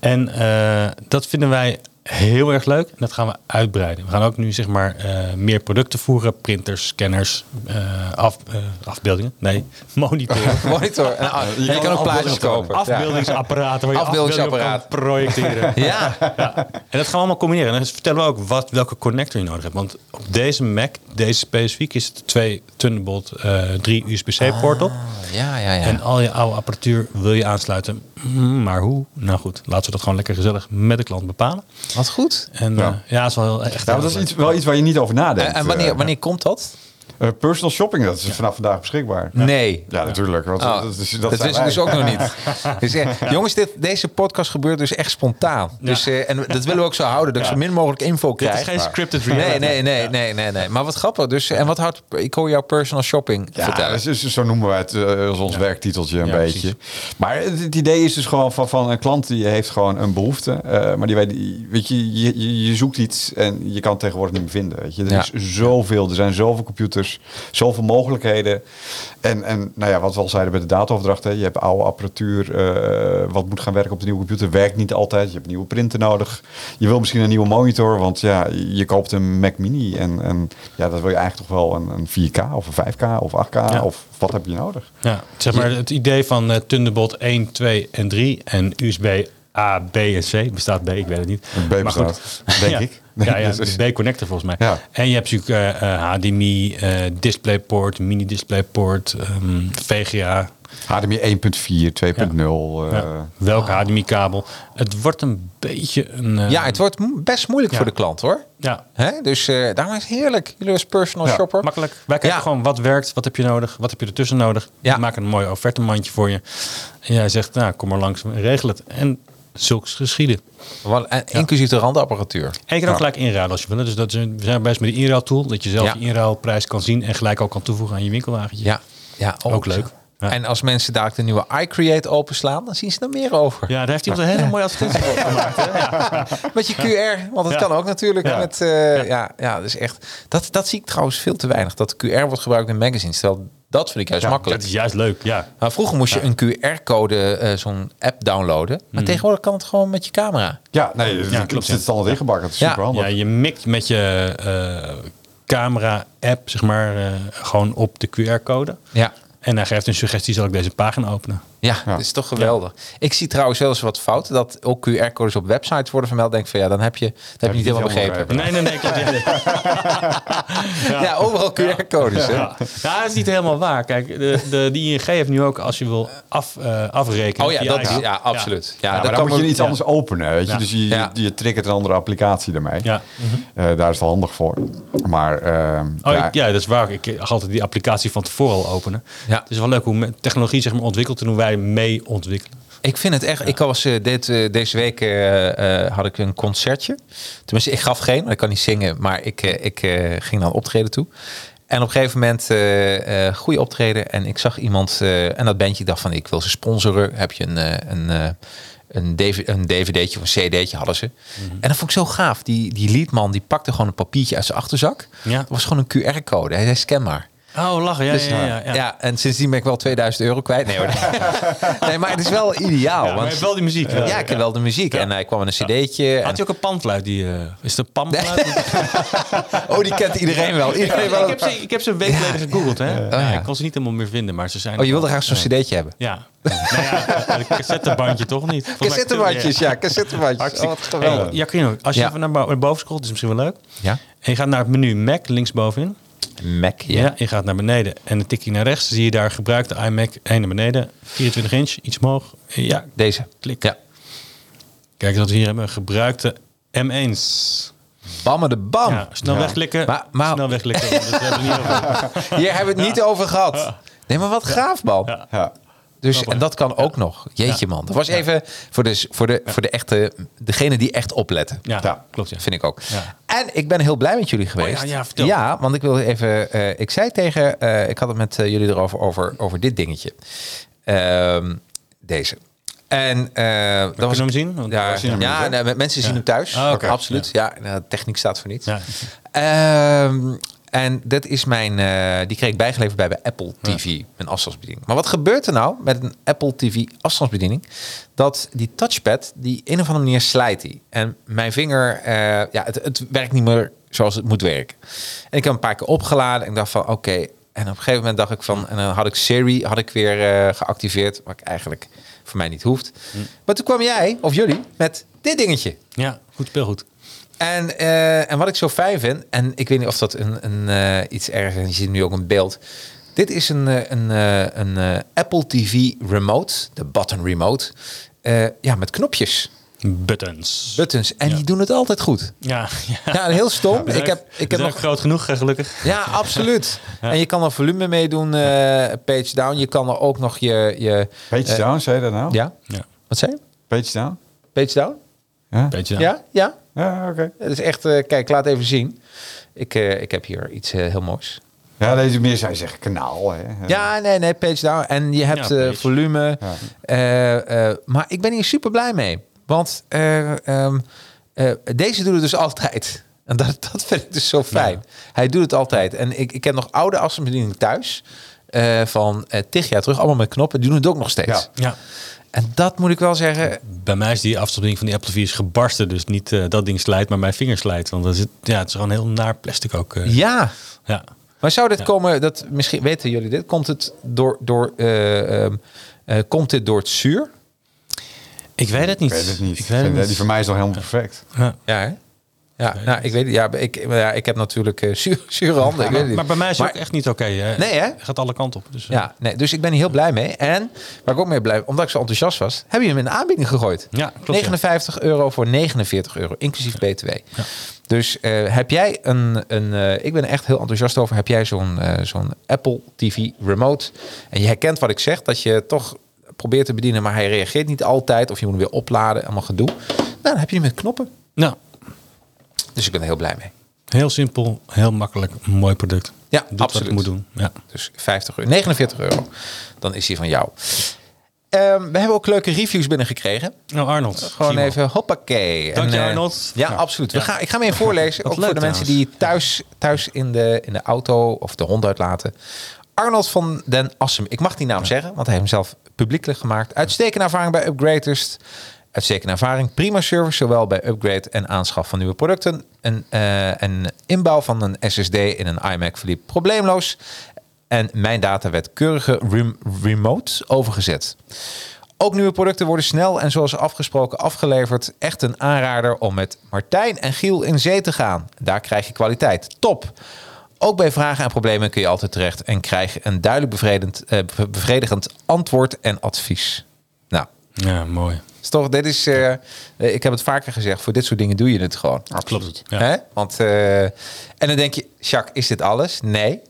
En eh, dat vinden wij heel erg leuk. En dat gaan we uitbreiden. We gaan ook nu zeg maar eh, meer producten voeren. Printers, scanners, eh, af, eh, afbeeldingen. Nee, monitoren.
Monitor. En, ah, en je kan ook plaatjes kopen.
Afbeeldingsapparaten waar je
Afbeeldingsapparaat.
afbeeldingen kan projecteren.
Ja. ja.
En dat gaan we allemaal combineren. En dan vertellen we ook wat, welke connector je nodig hebt. Want op deze Mac, deze specifiek, is het twee Thunderbolt eh 3 USB-C-poort op.
Ja, ja, ja.
En al je oude apparatuur wil je aansluiten. Mm, Maar hoe? Nou goed, laten we dat gewoon lekker gezellig met de klant bepalen.
Wat goed.
En ja,
Ja.
ja dat is wel heel- echt...
Ja, maar Nou, dat is iets, wel iets waar je niet over nadenkt.
En, en
eh.
wanneer, wanneer komt dat?
Eh, personal shopping, dat is vanaf vandaag beschikbaar.
Nee.
Ja, natuurlijk. Want
Oh,
dat is, dat
dat
zijn
wist ik dus
wij.
ook nog niet. Dus, eh, Jongens, dit, deze podcast gebeurt dus echt spontaan. Dus, eh, en dat willen we ook zo houden, dat ik zo min mogelijk info
Dit
krijg.
is geen
Maar-
scripted
Nee,
reality.
nee, nee, nee, nee, nee. Maar wat grappig. Dus, en wat houdt, ik hoor jouw personal shopping
Ja,
vertellen.
dat is- zo noemen we het eh, als ons werktiteltje een
Ja,
beetje. Maar het, het idee is dus gewoon van, van een klant die heeft gewoon een behoefte. eh, maar die weet, die- weet je, je, je, je zoekt iets en je kan het tegenwoordig niet meer vinden. Weet je. Er
Ja.
is zoveel, er zijn zoveel computers, zoveel mogelijkheden. En, en nou ja, wat we al zeiden bij de dataoverdracht, hè, je hebt oude apparatuur, eh, wat moet gaan werken op de nieuwe computer, werkt niet altijd. Je hebt nieuwe printer nodig. Je wil misschien een nieuwe monitor, want ja, je koopt een Mac Mini en, en ja, dat wil je eigenlijk toch wel een, een 4K of een 5K of 8K
Ja.
of wat heb je nodig?
Ja, zeg maar het idee van eh, Thunderbolt 1, 2 en 3 en USB A, B en C. Bestaat B, ik weet het niet.
B bestaat, denk
ja.
ik.
Ja, ja,
Dus-
B-connector volgens mij.
Ja.
En je hebt natuurlijk eh, eh, HDMI, eh, DisplayPort, mini-DisplayPort, ehm, VGA.
HDMI 1.4, 2.0. eh,
Ja. Welke HDMI-kabel. Het wordt een beetje een... eh,
Ja, het wordt mo- best moeilijk
Ja.
voor de klant hoor.
ja,
Hè? Dus eh, daarom is het heerlijk. Jullie als personal
Ja,
shopper.
Makkelijk. Wij kijken
Ja.
gewoon wat werkt, wat heb je nodig, wat heb je ertussen nodig.
Ja.
We maken een mooi offertemandje voor je. En jij zegt, nou, kom maar langs, regel het. En zulks geschieden.
Want- en eh, Inclusief de randapparatuur.
En je kan ook gelijk inruilen als je wil. Dus dat is, we zijn best met de inruiltool. Dat je zelf
Ja.
je inruilprijs kan zien en gelijk ook kan toevoegen aan je winkelwagentje.
Ja, ja
Ook leuk.
zo.
Ja.
En als mensen daar de nieuwe iCreate openslaan, dan zien ze er meer over.
Ja, daar heeft iemand een hele mooie advertentie voor gemaakt. hè?
Met je QR, want dat
Ja.
kan ook natuurlijk.
Ja.
Met, eh, ja. Ja, dus echt. Dat, dat zie ik trouwens veel te weinig. Dat QR wordt gebruikt in magazines. Terwijl dat vind ik juist makkelijk.
Dat is juist leuk, ja.
Maar vroeger moest je een QR-code, eh, zo'n app downloaden. Maar tegenwoordig kan het gewoon met je camera.
Ja, nee,
Ja,
ja,
klopt,
klopt, zit het al ingebakken. Dat is
Ja.
superhandig.
ja. Je mikt met je eh, camera-app, zeg maar, eh, gewoon op de QR-code.
Ja.
En hij geeft een suggestie, zal ik deze pagina openen?
Ja, dat is toch geweldig. Ik zie trouwens wel eens wat fouten. Dat ook QR-codes op websites worden vermeld. Denk ik van ja, dan heb je, dat heb je niet helemaal begrepen.
Nee, nee, nee, klopt. Ja.
Ja, overal QR-codes. hè?
Ja. ja, dat is niet helemaal waar. Kijk, de, de, die ING heeft nu ook, als je wil af, eh, afrekenen.
Oh ja,
via
dat is,
app.
ja, absoluut. Ja,
Ja,
dat
maar dan
kan
moet je
ook-
iets
ja.
anders openen. Weet je?
Ja.
Dus je,
Ja.
je, je triggert een andere applicatie ermee.
Ja.
Eh, daar is het wel handig voor. Maar ehm,
Oh,
ja,
ik- ja, dat is waar. Ik ga altijd die applicatie van tevoren al openen.
Ja.
Het is wel leuk hoe me- technologie zeg maar, ontwikkelt en hoe wij mee ontwikkelen.
Ik vind het echt. Ik was eh, dit, eh, deze week eh, eh, had ik een concertje. Tenminste, ik gaf geen, want ik kan niet zingen. Maar ik, eh, ik eh, ging naar een optreden toe. En op een gegeven moment, eh eh goede optreden. En ik zag iemand, eh, en dat bandje, ik dacht van, ik wil ze sponsoren. Heb je een, eh, een, eh, een, DV een dvd'tje of een cd'tje hadden ze.
Mhm.
En dat vond ik zo gaaf. Die, die liedman, die pakte gewoon een papiertje uit zijn achterzak.
Ja.
Dat was gewoon een QR-code. Hij zei, scan maar.
Oh, lachen. Ja, ja, ja.
Dus, eh, Ja. en sindsdien ben ik wel 2000 euro kwijt. Nee, hoor. nee maar het is wel ideaal.
maar je
want
hebt wel die muziek.
ja, ik heb wel de muziek. En hij kwam met een cd'tje.
Had
En...
je ook een pandluid? Die, eh, is de pandluid?
Oh, die kent iedereen wel. Iedereen wel.
ik, heb ze, ik heb ze een week geleden gegoogeld. Hè? Ja,
ja.
ik kon ze niet helemaal meer vinden, maar ze zijn...
Oh, je wilde graag zo'n
Ja.
cd'tje hebben.
Ja. Nou ja, een cassettebandje toch niet? Volgens mij-
Cassettebandjes, ja, cassettebandjes. Oh,
Hartstikke
wat geweldig.
Hey, Jacquino, als je
Ja.
even naar bo- naar boven scrolt, is misschien wel leuk.
Ja.
En je gaat naar het menu Mac linksbovenin.
Oh, Mac, ja.
Ja. je gaat naar beneden en dan tik je naar rechts. Zie je daar gebruikte iMac 1 naar beneden. 24 inch, iets omhoog. Ja,
Deze.
klik.
Ja.
Kijk eens wat we hier hebben. Gebruikte M1.
Bammen de bam.
Ja, snel wegklikken.
Oh. Maar- maar-
Snel wegklikken. want dat hebben we niet over.
Hier hebben we het niet over gehad. Nee, maar wat gaaf, man.
Ja.
Dus, en dat kan ook nog. Jeetje, man. Dat was even voor de, voor de, voor de echte, degene die echt opletten.
Ja,
Ja.
klopt. Ja.
Vind ik ook.
Ja. Oh
En ik ben heel blij met jullie geweest.
ja, vertel.
want ik wil even. eh, ik zei tegen. eh, ik had het met eh, jullie erover over, over dit dingetje. Ehm, deze. En eh dat
Kunnen
was
we hem zien? Want
ja,
we zien hem
ja,
niet, hè?
nee, met- mensen zien hem thuis.
Ah, oké.
Absoluut. Ja, nou, techniek staat voor niets.
Ja.
Ehm, en dat is mijn, eh, die kreeg ik bijgeleverd bij mijn Apple TV, mijn afstandsbediening. Maar wat gebeurt er nou met een Apple TV afstandsbediening? Dat die touchpad, die een of andere manier slijt die. En mijn vinger, eh, ja, het, het werkt niet meer zoals het moet werken. En ik heb hem een paar keer opgeladen en ik dacht van, oké. En op een gegeven moment dacht ik van, en dan had ik Siri had ik weer eh, geactiveerd, wat ik eigenlijk voor mij niet hoeft. Maar toen kwam jij, of jullie, met dit dingetje.
ja, goed speelgoed.
En, eh, en wat ik zo fijn vind, en ik weet niet of dat een, een, eh, iets ergs is, je ziet nu ook een beeld. Dit is een, eh, een, eh, een eh, Apple TV remote, de button remote. Eh, ja, met knopjes,
Buttons.
buttons. En die doen het altijd goed.
ja, ja.
Ja, en heel stom.
We zijn
ik heb,
ook- we
ik heb
zijn
nog
ook groot genoeg, eh, gelukkig.
ja, absoluut. En je kan er volume mee doen, eh, page down. Je kan er ook nog je... je
Page
eh,
down, zei je dat nou?
Ja,
Ja,
wat zei je?
Page down?
Page down?
Ja,
beetje.
Ja, ja.
ja oké.
Het is echt... eh, kijk, laat even zien. Ik, eh, ik heb hier iets eh, heel moois.
Ja, deze meer zou je zeggen kanaal. Hè? Eh,
Ja, nee, nee, page down. En je hebt
Ja,
eh,
page.
volume.
Ja.
Eh, eh, maar ik ben hier super blij mee. Want eh, ehm, eh, deze doet het dus altijd. En dat, dat vind ik dus zo fijn. Hij doet het altijd. En ik, ik heb nog oude afstandsbediening thuis. eh, van eh tig jaar terug. Allemaal met knoppen. Die doen het ook nog steeds.
Ja.
Ja.
En dat moet ik wel zeggen.
Bij mij is die afstandsbediening van die Apple 4 is gebarsten. Dus niet eh, dat ding slijt, maar mijn vinger slijt. Want dat is, het- ja, het is gewoon heel naar plastic ook. eh.
Ja.
ja.
Maar zou dit komen, dat, misschien weten jullie dit, komt, het door, door, eh, ehm, eh, komt dit door het zuur?
Ik weet het niet.
Ik weet het niet.
Ik weet het
Die
niet.
voor mij is al helemaal perfect.
Ja.
Ja, hè? Ja, nou, ik weet het. Ja, ik, ja, ik heb natuurlijk eh zuur- zure handen. ik weet het
Maar bij mij is het
Maar-
ook echt niet oké. hè.
Nee, hè?
Het gaat alle kanten op. Dus, eh,
Ja, nee, dus ik ben hier heel blij mee. En waar ik ook mee blij omdat ik zo enthousiast was, heb je hem in de aanbieding gegooid.
Ja, klopt, ja.
59 euro voor 49 euro, inclusief BTW. Dus eh, heb jij een, een eh, ik ben er echt heel enthousiast over, heb jij zo'n eh, zo'n Apple TV remote en je herkent wat ik zeg, dat je toch probeert te bedienen, maar hij reageert niet altijd of je moet hem weer opladen, allemaal gedoe. Nou, dan heb je hem met knoppen.
Nou,
Dus ik ben er heel blij mee.
heel simpel, heel makkelijk, mooi product.
Ja,
Doet wat
absoluut.
het moet doen. Ja.
Dus 50 euro, 49 euro. Dan is die van jou. Ehm, we hebben ook leuke reviews binnengekregen.
Nou, Arnold.
Eh, Gewoon
zie je
even hoppakee.
Dank je,
eh,
Arnold.
Ja, absoluut. We gaan, ik ga hem even voorlezen. ook
leuk
voor de mensen die thuis, thuis in, de, in de auto of de hond uitlaten. Arnold van den Assem. Ik mag die naam zeggen, want hij heeft hem zelf publiekelijk gemaakt. Uitstekende ervaring bij Upgraders. Uitstekende ervaring. Prima service, zowel bij upgrade en aanschaf van nieuwe producten. Een, eh, een inbouw van een SSD in een iMac verliep probleemloos. En mijn data werd keurige rem- remote overgezet. Ook nieuwe producten worden snel en zoals afgesproken afgeleverd. Echt een aanrader om met Martijn en Giel in zee te gaan. Daar krijg je kwaliteit. Top! Ook bij vragen en problemen kun je altijd terecht en krijg je een duidelijk bevredigend, eh, be- bevredigend antwoord en advies. Nou,
wel. Ja, mooi.
is toch, dit is, eh, eh, ik heb het vaker gezegd, voor dit soort dingen doe je het gewoon.
Klopt. Ja.
Hè? Want, eh, en dan denk je, Jacques, is dit alles? Nee.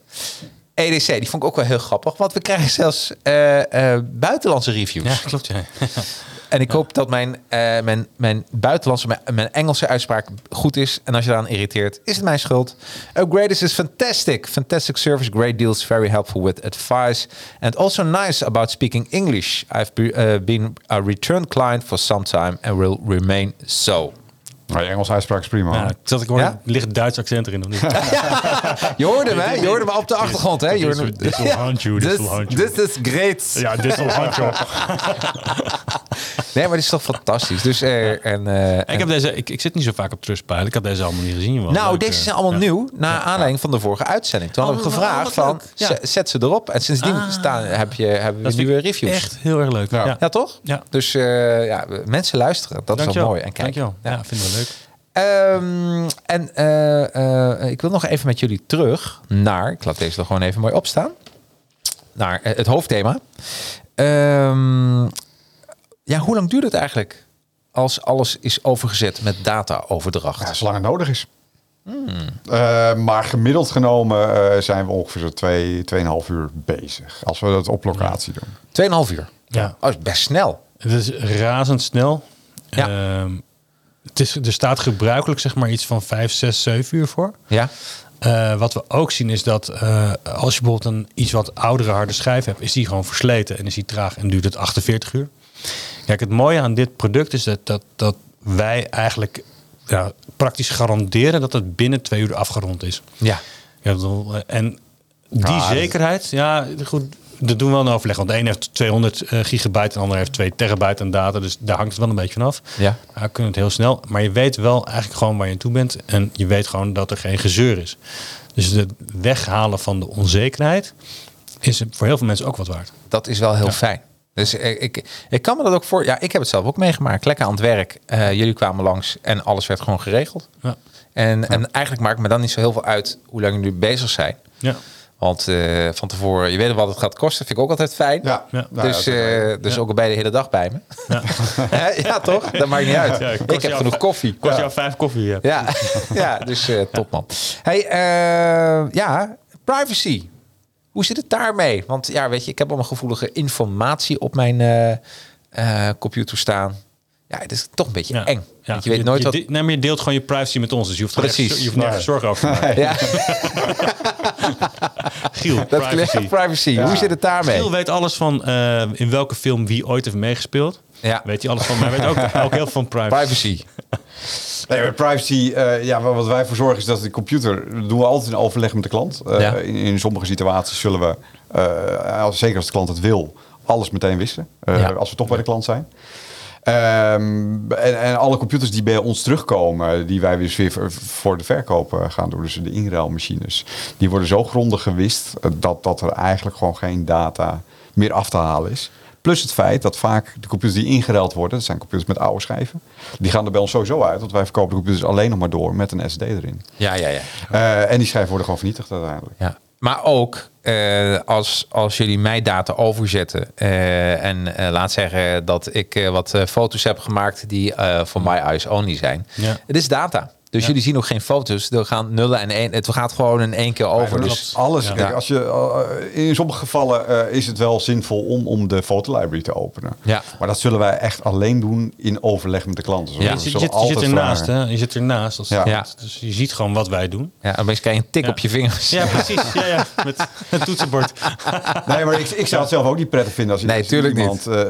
EDC, die vond ik ook wel heel grappig. Want we krijgen zelfs eh, eh, buitenlandse reviews.
Ja, klopt. Ja.
En ik hoop dat mijn, eh, mijn, mijn buitenlandse, mijn, mijn Engelse uitspraak goed is. En als je daaraan irriteert, is het mijn schuld. Upgraders is dus fantastic. Fantastic service, great deals, very helpful with advice. And also nice about speaking English. I've be- eh, been a return client for some time and will remain so.
Maar je Engelse uitspraak is prima.
Ja,
hoor.
dat ik hoor,
Ja?
ligt Duits accent erin of niet?
Je hoorde hem, hè? Je hoorde me op de achtergrond, hè? Je
Dit-
hoorde hem.
dit will haunt you, dit
This,
will haunt you.
this is great.
ja, dit is al
Nee, maar dit is toch fantastisch. Dus eh, en, eh,
Ik, heb deze, ik, ik zit niet zo vaak op Trustpilot. Ik had deze allemaal niet gezien. Wel
Nou,
leuk,
deze
eh.
zijn allemaal
Ja.
nieuw. Naar aanleiding van de vorige uitzending. Toen hadden we
Oh, wat
gevraagd
leuk.
van,
Ja. Ah.
zet- zet ze erop. En sindsdien staan, heb je, hebben we
Dat vind
nieuwe
ik
reviews.
Echt heel erg leuk. Ja,
Ja, toch?
Ja.
Dus eh, ja, mensen luisteren. Dat is
Dankjewel.
wel mooi. En kijk.
Dankjewel. Ja, vind ik wel leuk.
Ehm, en eh, eh, ik wil nog even met jullie terug naar... Ik laat deze er gewoon even mooi op staan. Naar eh, het hoofdthema. Ehm, ja, hoe lang duurt het eigenlijk als alles is overgezet met dataoverdracht?
Ja, zolang het nodig is.
Hmm.
Eh, maar gemiddeld genomen eh, zijn we ongeveer zo'n twee, 2,5 uur bezig. Als we dat op locatie doen.
Tweeënhalf uur.
Ja.
Oh, is best snel.
Het is razendsnel.
Ja.
Ehm, het is, er staat gebruikelijk zeg maar iets van 5, 6, 7 uur voor.
Ja.
Eh, wat we ook zien is dat eh, als je bijvoorbeeld een iets wat oudere harde schijf hebt, is die gewoon versleten en is die traag en duurt het 48 uur. Kijk, het mooie aan dit product is dat, dat, dat wij eigenlijk ja, praktisch garanderen dat het binnen twee uur afgerond is.
Ja.
Ja, ik bedoel, eh, en die
Ah, dat-
zekerheid, ja, goed, dat doen we wel een overleg. Want de een heeft 200 eh, gigabyte en de ander heeft 2 terabyte aan data. Dus daar hangt het wel een beetje vanaf.
Ja.
Maar Nou, we kunnen het heel snel. Maar je weet wel eigenlijk gewoon waar je aan toe bent. En je weet gewoon dat er geen gezeur is. Dus het weghalen van de onzekerheid is voor heel veel mensen ook wat waard.
Dat is wel heel fijn. Dus eh, ik, ik kan me dat ook voor. Ja, ik heb het zelf ook meegemaakt. Lekker aan het werk. Eh, jullie kwamen langs en alles werd gewoon geregeld.
Ja.
En, en eigenlijk maakt me dan niet zo heel veel uit hoe lang jullie bezig zijn.
Ja.
Want eh, van tevoren, je weet wat het gaat kosten, vind ik ook altijd fijn.
Ja,
Ja.
nou
dus
ja, dat-
eh, dus ook al bij de hele dag bij me. Ja, toch? Dat maakt niet uit. ik heb genoeg koffie.
Kost jou vijf koffie. Ja.
Ja, ja dus eh top man. Hey, eh, ja, privacy. Hoe zit het daarmee? Want ja, weet je, ik heb allemaal gevoelige informatie op mijn eh, eh, computer staan. Ja, het is toch een beetje
Ja.
eng.
Ja.
Want je weet nooit
je
wat...
de- nee, maar je deelt gewoon je privacy met ons. Dus je hoeft er echt-
Precies.
je hoeft nergens zorgen over te maken.
Ja,
Giel,
dat
privacy.
privacy. Hoe zit het daarmee?
Giel weet alles van eh, in welke film wie ooit heeft meegespeeld.
Ja.
Weet hij alles van, maar hij weet ook, ook heel veel van privacy.
Privacy.
Nee, maar privacy, eh, ja, wa- wat wij voor zorgen is dat de computer, dat doen we altijd in overleg met de klant. Eh,
Ja.
in, in sommige situaties zullen we, eh, als, zeker als de klant het wil, alles meteen wissen. Eh,
Ja.
Als we toch bij de klant zijn. Ehm, en, en alle computers die bij ons terugkomen, die wij dus weer voor- voor de verkoop eh, gaan doen, dus de inruilmachines, die worden zo grondig gewist eh, dat, dat er eigenlijk gewoon geen data meer af te halen is. Plus het feit dat vaak de computers die ingeruild worden, dat zijn computers met oude schijven, die gaan er bij ons sowieso uit, want wij verkopen de computers alleen nog maar door met een SD erin.
Ja, ja, ja.
Eh, en die schijven worden gewoon vernietigd uiteindelijk.
ja. Maar ook eh, als, als jullie mijn data overzetten eh, en eh, laat zeggen dat ik eh, wat eh, foto's heb gemaakt die eh, voor my eyes only zijn.
Ja.
Het is data. Dus jullie zien ook geen foto's. Er gaan nullen en één. Het gaat gewoon in één keer over.
Ja,
Dus,
dat alles.
Ja.
Kijk, als je, eh, in sommige gevallen eh, is het wel zinvol om, om de fotolibrary te openen.
Ja.
Maar dat zullen wij echt alleen doen in overleg met de klanten. Zo-
Ja.
we
Je, zit- je
zullen
zit- je zit
altijd
ernaast,
vragen.
hè? Je zit ernaast. Als
Ja.
klant.
Ja.
Dus je ziet gewoon wat wij doen.
ja, opeens krijg je een tik
Ja.
op je vingers.
Ja, precies. Ja, ja. Met het toetsenbord.
Nee, maar ik, ik zou het zelf ook niet prettig vinden als,
Nee,
als
tuurlijk
iemand eh,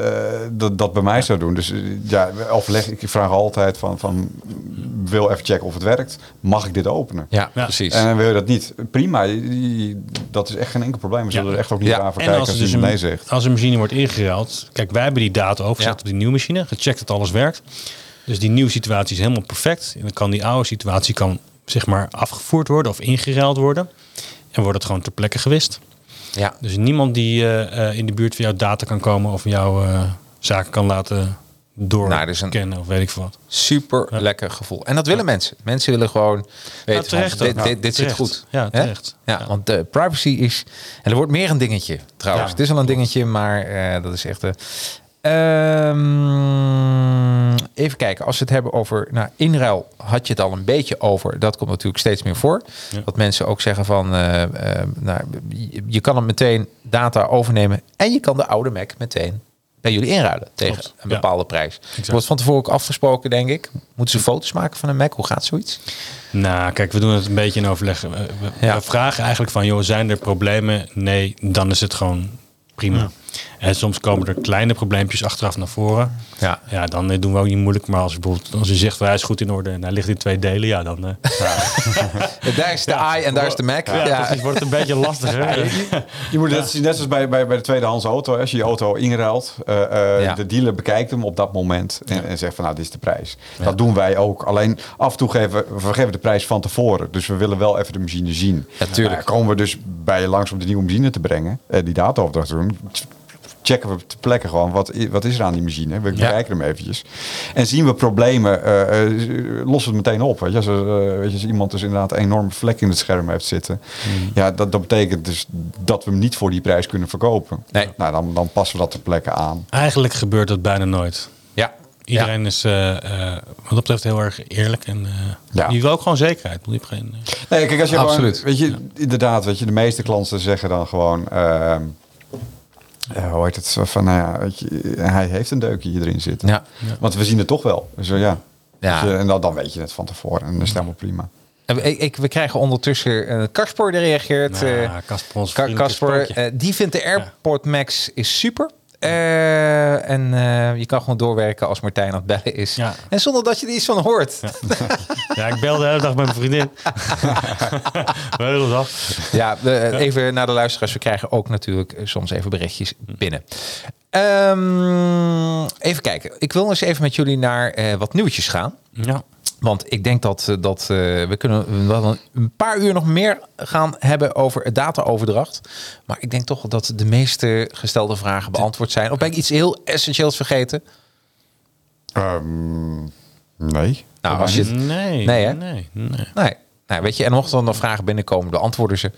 dat, dat bij mij zou doen. Dus eh, ja, overleg. Ik vraag altijd van, van wil even checken of het werkt. Mag ik dit openen?
Ja,
Ja.
precies.
En wil je dat niet? Prima. je- je- Dat is echt geen enkel probleem. We zullen
Ja.
er echt ook niet
Ja.
raar voor
En
kijken
als,
als,
er dus
iemand nee
een,
zegt.
als een machine wordt ingeruild. Kijk, wij hebben die data overgezet
Ja.
op die nieuwe machine. Gecheckt dat alles werkt. Dus die nieuwe situatie is helemaal perfect. En dan kan die oude situatie kan, zeg maar, afgevoerd worden of ingeruild worden. En wordt het gewoon ter plekke gewist.
ja.
Dus niemand die eh, eh, in de buurt van jouw data kan komen of jouw eh, zaken kan laten
Nou, er is een-
doorkennen of weet ik veel wat.
Super lekker gevoel. En dat willen mensen. Mensen willen gewoon weten, van,
terecht
dit,
ook.
dit, dit zit
Terecht.
goed.
Ja,
Hè?
terecht.
Ja,
Ja.
want eh, de privacy is... En er wordt meer een dingetje trouwens.
Ja,
het is al een dingetje, maar eh, dat is echt... eh, Ehm, even kijken, als we het hebben over nou, inruil, had je het al een beetje over. Dat komt natuurlijk steeds meer voor. Dat mensen ook zeggen van, eh, eh, nou, je- je kan hem meteen data overnemen en je kan de oude Mac meteen bij jullie inruilen tegen
Klopt,
een
ja.
bepaalde prijs. Wordt van tevoren ook afgesproken, denk ik. Moeten ze foto's maken van een Mac? Hoe gaat zoiets?
Nou, kijk, we doen het een beetje in overleg. We, we-
Ja.
we vragen eigenlijk van, joh, zijn er problemen? Nee, dan is het gewoon prima. En soms komen er kleine probleempjes achteraf naar voren.
Ja.
Ja, dan eh, doen we ook niet moeilijk. Maar als, bijvoorbeeld, als u zegt, van, hij is goed in orde en hij ligt in twee delen, ja, dan eh,
Eh, Daar is de i en daar is de Mac. Ja,
ja, precies, wordt het een beetje lastiger.
Je moet net, net zoals bij, bij, bij de tweedehands auto. Als je je auto inruilt, eh, eh,
Ja.
de dealer bekijkt hem op dat moment en, en zegt van nou, dit is de prijs. Dat doen wij ook. Alleen af en toe geven we- we geven de prijs van tevoren. Dus we willen wel even de machine zien.
Ja, tuurlijk.
Nou, komen we dus bij je langs om de nieuwe machine te brengen en die dataopdracht te doen. Checken we ter plekke gewoon wat, i- wat is er aan die machine. We bekijken hem eventjes. En zien we problemen, eh eh, lossen we het meteen op. Weet je? Als, er, eh, weet je, als iemand dus inderdaad een enorme vlek in het scherm heeft zitten. Ja, dat, dat betekent dus dat we hem niet voor die prijs kunnen verkopen.
Nee.
Nou, dan, dan passen we dat ter plekke aan.
Eigenlijk gebeurt dat bijna nooit.
ja.
Iedereen is eh, eh, wat dat betreft heel erg eerlijk. En eh
Ja.
je wil ook gewoon zekerheid. Je hebt geen, eh,
Nee, kijk, als je
Absoluut.
gewoon... Weet je, inderdaad, weet je, de meeste klanten zeggen dan gewoon... ehm, ja, hoe heet het? Zo Van, nou ja, weet je, hij heeft een deukje erin zitten.
Ja.
Want we zien het toch wel. Dus eh, ja.
Ja.
Dus, eh, en dan, dan weet je het van tevoren. En dat is het helemaal prima.
En Ik, ik, we krijgen ondertussen eh Kasper die reageert.
Nou,
eh,
Kasper, ons
Ka-
vriendelijke
Kasper,
sprookje.
eh, die vindt de AirPort Max is super. Eh, en eh, je kan gewoon doorwerken als Martijn aan het bellen is.
Ja.
En zonder dat je er iets van hoort. Ja,
Ja, ik belde de hele dag met mijn vriendin. We hebben af.
eh, even naar de luisteraars. We krijgen ook natuurlijk eh, soms even berichtjes binnen. Ehm, even kijken. Ik wil eens even met jullie naar eh, wat nieuwtjes gaan.
Ja.
Want ik denk dat, eh, dat eh, we kunnen wel een- een paar uur nog meer gaan hebben over dataoverdracht. Maar ik denk toch dat de meeste gestelde vragen beantwoord zijn. Of ben ik iets heel essentieels vergeten?
Ehm, nee.
Nou, als je het-
Nee,
Nee, hè?
nee, nee.
Nee. Nou, weet je, en mochten er nog vragen binnenkomen, beantwoorden ze.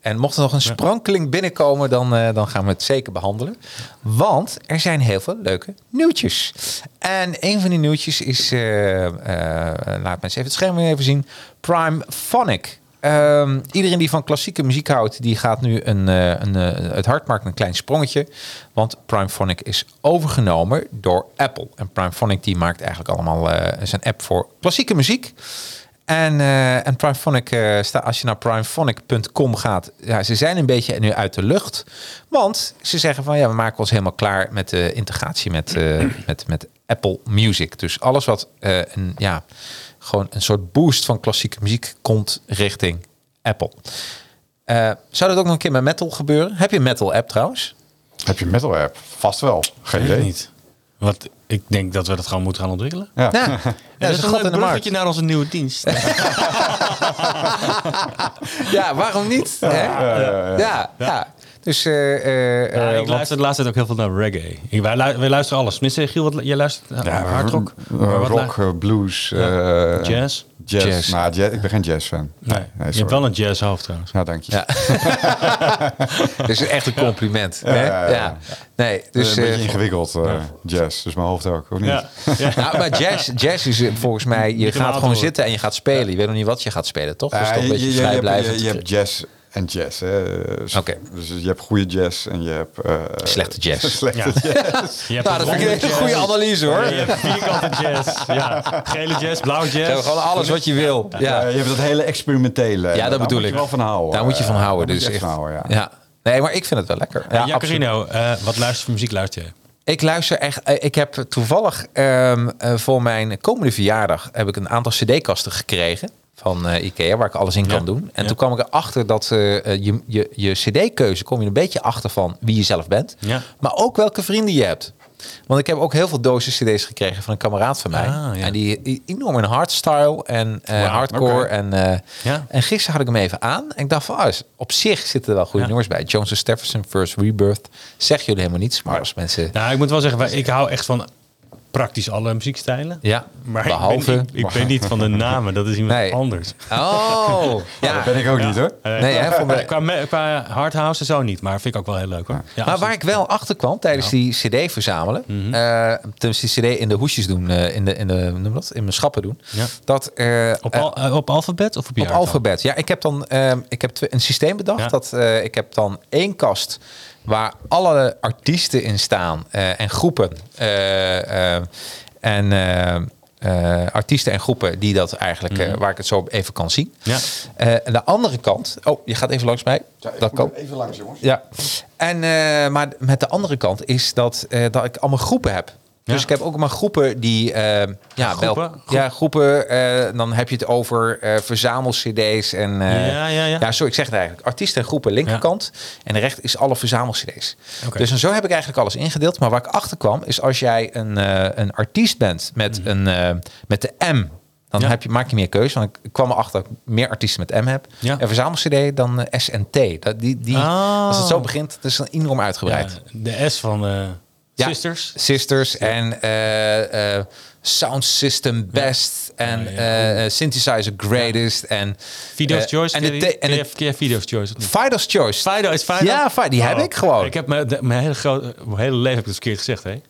En mocht er nog een sprankeling binnenkomen, dan, eh, dan gaan we het zeker behandelen. Want er zijn heel veel leuke nieuwtjes. En een van die nieuwtjes is, eh, eh, laat me eens even het scherm weer even zien, Prime Phonic. Ehm, iedereen die van klassieke muziek houdt, die gaat nu een, eh, een, eh, het hart maakt een klein sprongetje. Want Primephonic is overgenomen door Apple. En Primephonic die maakt eigenlijk allemaal eh, zijn app voor klassieke muziek. En, eh, en Primephonic, eh, sta, als je naar primephonic.com gaat, ja, ze zijn een beetje nu uit de lucht. Want ze zeggen van ja, we maken ons helemaal klaar met de integratie met, eh, met, met Apple Music. Dus alles wat eh, een, ja, gewoon een soort boost van klassieke muziek komt richting Apple. Eh, zou dat ook nog een keer met metal gebeuren? Heb je een metal app trouwens?
Heb je een metal app? Vast wel. Geen
Weet ik
idee.
niet. Want ik denk dat we dat gewoon moeten gaan ontwikkelen.
Ja.
Nou, Ja, dat is een gat in de markt.
naar onze nieuwe dienst.
Ja, waarom niet? hè? Ja, ja, Dus eh, eh, eh,
Ja, ik
want-
luister de laatste tijd ook heel veel naar reggae. Ik, wij, lu- wij luisteren alles. Tenminste, Giel, wat, lu- jij luistert naar
Ja,
hard rock?
eh,
Maar wat
rock,
lu-
eh, blues, eh,
Jazz?
Jazz.
Jazz.
Nou, jazz- ik ben geen jazzfan.
Nee, je
sorry.
hebt wel een jazzhoofd trouwens.
Ja, dank je.
Ja. Dat is echt een compliment. hè?
ja, ja.
Ja. Nee, dus...
een
eh,
beetje ingewikkeld, eh, jazz. Dus mijn hoofd ook, of niet?
Ja. Ja.
nou, maar jazz, jazz is eh, volgens mij... Je,
kan
gaat
laten
gewoon
horen.
zitten en je gaat spelen. Je weet nog niet wat je gaat spelen, toch? Dat is
Eh,
Dus toch een
je, je-
beetje
je hebt, je,
vrijblijvend.
je hebt jazz en jazz. hè. Eh, s-
Oké.
Dus je hebt goede jazz en je hebt... eh,
Slechte jazz.
slechte
Ja.
jazz.
Je hebt
Nou,
een
dat vind ik
ronde
een
jazz.
goede analyse, hoor.
Je hebt vierkante jazz. Ja. Gele jazz, blauw
Ze hebben
jazz.
gewoon alles wat je wil. Ja,
Eh, je hebt dat hele experimentele.
ja dat
Daar
bedoel
moet
ik.
je wel van houden.
Daar moet je van
Eh,
houden.
daar
Dus
moet je
echt.
echt van houden, ja.
ja. Nee, maar ik vind het wel lekker. Ja,
Ja,
absoluut.
Carino, eh, wat luister voor muziek luister je?
Ik luister echt. eh, Ik heb toevallig ehm, eh, voor mijn komende verjaardag heb ik een aantal CD-kasten gekregen van eh, IKEA, waar ik alles in kan doen. En
ja.
toen kwam ik erachter dat eh, eh, je, je, je CD-keuze kom je een beetje achter van wie je zelf bent,
Ja.
maar ook welke vrienden je hebt. Want ik heb ook heel veel dozen CD's gekregen van een kameraad van mij.
Ah, ja.
En die die enorm in hardstyle en eh,
Wauw,
hardcore.
oké.
En, eh,
Ja.
en gisteren had ik hem even aan. En ik daft van, ah, is- op zich zitten er wel goede
Ja.
nummers bij. Jones Stephenson, First Rebirth. Zeg jullie helemaal niets, maar als mensen...
Nou, ik moet wel zeggen, wij- ik hou echt van praktisch alle muziekstijlen.
Ja,
maar
behalve-
Ik ben, ik, ik ben niet van de namen, dat is iemand
Nee.
anders. Eh,
Oh, ja.
Dat ben ik ook niet hoor.
Nee, hè, voor mij-
Qua, me- qua hardhouse en zo niet, maar vind ik ook wel heel leuk hoor. Ja, Mhm.
Maar
absoluut.
waar ik wel achter kwam tijdens die CD verzamelen, eh, tenminste die CD in de hoesjes doen, eh, in de, in de hoe noem je dat, in mijn schappen doen,
Ja.
dat eh,
op, al, eh, op alfabet of op je
op
hardhouse?
alfabet. Ja, ik heb dan ehm, ik heb twe- een systeem bedacht.
Ja.
Dat, eh, ik heb dan één kast waar alle artiesten in staan eh, en groepen. eh, eh, en eh, eh, artiesten en groepen die dat eigenlijk, eh, waar ik het zo even kan zien.
Mhm. Ja.
Eh, en de andere kant, oh, je gaat even langs mij. dat kan.
Even langs jongens.
Ja. En, eh, maar met de andere kant is dat, eh, dat ik allemaal groepen heb. Dus
Ja.
ik heb ook maar groepen die... eh, ja,
Groepen?
wel- ja, groepen. eh, dan heb je het over eh verzamel-cd's en... eh,
Ja, ja, ja.
sorry, ik zeg het eigenlijk. Artiesten en groepen linkerkant. En de rechter is alle verzamel-cd's.
Oké.
Dus en zo heb ik eigenlijk alles ingedeeld. Maar waar ik achter kwam, is als jij een, eh, een artiest bent met, een, eh, met de M... Dan
Mhm. Ja.
heb je, maak je meer keuze. Want ik kwam erachter dat ik meer artiesten met M heb.
Ja.
En verzamel-cd dan eh, S en T. Dat, die, die,
Ah.
Als het zo begint, dat is dan enorm
Ja,
uitgebreid.
de S van eh,
Ja.
Sisters.
Sisters en eh, eh, Sound System Best en
Oh, ja.
eh, eh, Synthesizer Greatest en...
Video's
eh,
Choice.
En de, te- en de
keer Video's Choice. of niet?
Fido's Choice.
Fido is Fido. Oh.
Ja, Fido, die heb ik gewoon.
Ik heb mijn, de- mijn hele, grote, mijn hele leven heb ik het verkeerd gezegd, hè?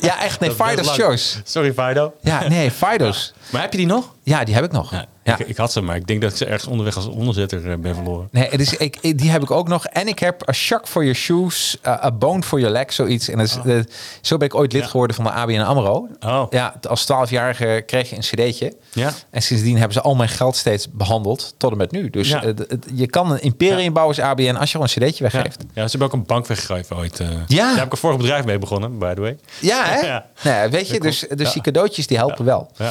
Ja, echt. Nee,
Dat is best
Fido's
lang.
Choice.
Sorry, Fido.
Ja, nee, Fido's.
Maar heb je die nog?
Ja, die heb ik nog. Ja.
Ik, ik had ze, maar ik denk dat ik ze ergens onderweg als onderzetter eh, ben verloren.
Nee, het is, ik, ik- die heb ik ook nog. En ik heb A Shock for Your Shoes, uh, A Bone for Your Leg, zoiets. En dat is, eh, zo ben ik ooit lid
Oh. Ja.
geworden van de ABN AMRO.
Oh.
Ja, t- als 12-jarige kreeg je een cd'tje.
Ja.
En sindsdien hebben ze al mijn geld steeds behandeld, tot en met nu. Dus
Ja.
eh, d- het- je kan een imperium bouwen als ABN als je gewoon een cd'tje
Ja.
weggeeft.
ja, ze hebben ook een bank weggegeven ooit. eh.
Ja.
Daar heb ik een vorig bedrijf mee begonnen, by the way.
Ja, hè?
Ja.
Nou, weet je, dus, dus die cadeautjes die helpen wel.
Ja.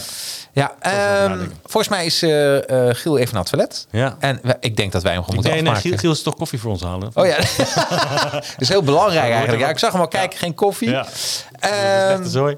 Ja,
wel
ehm,
nadenken.
volgens mij is eh, eh, Giel even naar het toilet.
Ja.
En we- ik denk dat wij hem gewoon
Ik
moeten
denk, nee,
afmaken.
Giel, Giel is toch koffie voor ons halen?
Oh ja, dat is heel belangrijk eigenlijk. Ja, ik zag hem al kijken, geen koffie.
Ja.
Ehm,
Echte zooi.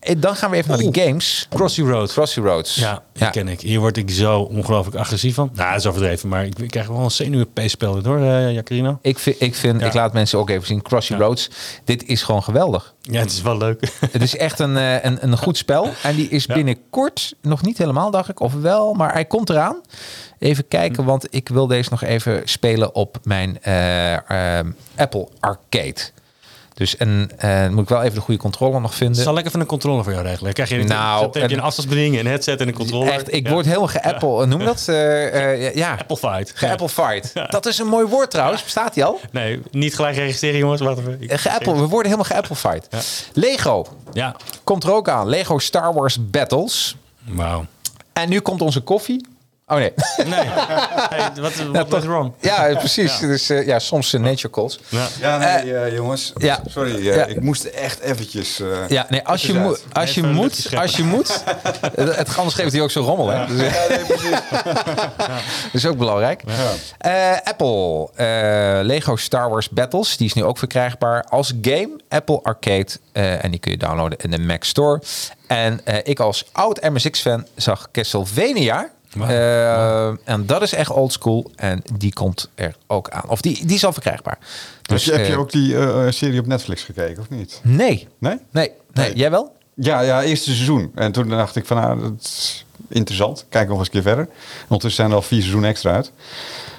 eh, dan gaan we even naar de games.
Crossy Road.
Crossroads.
Ja, die
ja.
ken ik. Hier word ik zo ongelooflijk agressief van. Nou, dat is overdreven, maar ik, ik krijg wel een zenuwenpeespel dit hoor, eh Jacarino.
Ik vind, ik, vind
Ja.
ik laat mensen ook even zien, Crossroads, dit is gewoon geweldig.
Ja, het is wel leuk.
Het is echt een, eh, een, een goed spel. En die is binnenkort, nog niet helemaal dacht ik, of wel, maar hij komt eraan. Even
Hm.
kijken, want ik wil deze nog even spelen op mijn eh, eh, Apple Arcade. Dus en, eh, moet ik wel even de goede controller nog vinden.
zal ik even een controle voor jou regelen. Krijg je,
Nou,
nou, heb je een
en-
afstandsbediening, een headset en een controle.
Echt, ik word helemaal geapple, noem je dat? Eh, eh, ja,
Apple Fight.
geapplefied. Dat is een mooi woord trouwens, bestaat die al?
Ja. Nee, niet gelijk registreren jongens, wacht even. Ik-
Eh, Geapple, we worden helemaal geapplefied. Lego
Ja,
komt er ook aan. Lego Star Wars Battles.
wauw.
En nu komt onze koffie. Oh nee.
Nee, hey, wat wat was wrong?
Ja, eh, precies. Dus eh, ja, soms eh, nature calls.
Ja.
Ja, nee, eh, jongens.
ja.
Sorry, eh,
Ja.
ik moest echt eventjes. eh,
Ja, nee, als je,
uit.
moet, als je
Even een
moet,
luchtje scheppen.
als je moet. eh, Het anders geeft hij ook zo rommel, hè? Dus, eh,
Ja, nee, precies.
Dat is ook belangrijk. Eh, Apple, eh, Lego Star Wars Battles, die is nu ook verkrijgbaar als game. Apple Arcade, eh, en die kun je downloaden in de Mac Store. En eh, ik als oud MSX-fan zag Castlevania.
Wauw.
Eh, En dat is echt old school. En die komt er ook aan. Of die, die is al verkrijgbaar.
Heb je, Dus heb je
eh,
ook die eh, serie op Netflix gekeken, of niet?
Nee.
Nee?
Nee, nee.
Nee.
jij wel?
Ja, ja, eerste seizoen. En toen dacht ik van, nou, dat is interessant. Kijk nog eens een keer verder. En ondertussen zijn er al vier seizoenen extra uit.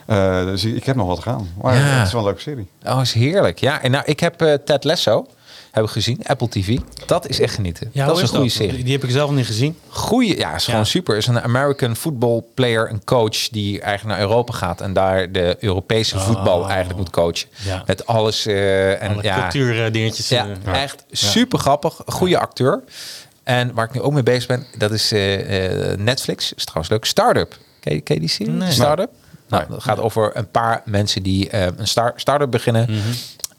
Eh, dus ik, ik heb nog wat gaan. Maar
Ja.
het is wel een leuke serie.
Oh, is heerlijk. Ja, en nou, ik heb eh, Ted Lasso heb ik gezien, Apple TV. Dat is echt genieten.
Ja,
dat
hoe
is een goede
Die,
serie.
die heb ik zelf nog niet gezien.
Goeie, ja, is gewoon
Ja.
super. Is een American football player, een coach die eigenlijk naar Europa gaat en daar de Europese voetbal eigenlijk moet coachen.
Oh. Ja.
Met alles eh, en
Alle
ja,
cultuurdingetjes.
ja,
eh,
echt super grappig. Goede acteur. En waar ik nu ook mee bezig ben, dat is eh, eh, Netflix. Is trouwens leuk. Startup. Ken je, ken je die serie? Startup. Nou, dat gaat over een paar mensen die eh, een star- start-up beginnen.
Mhm.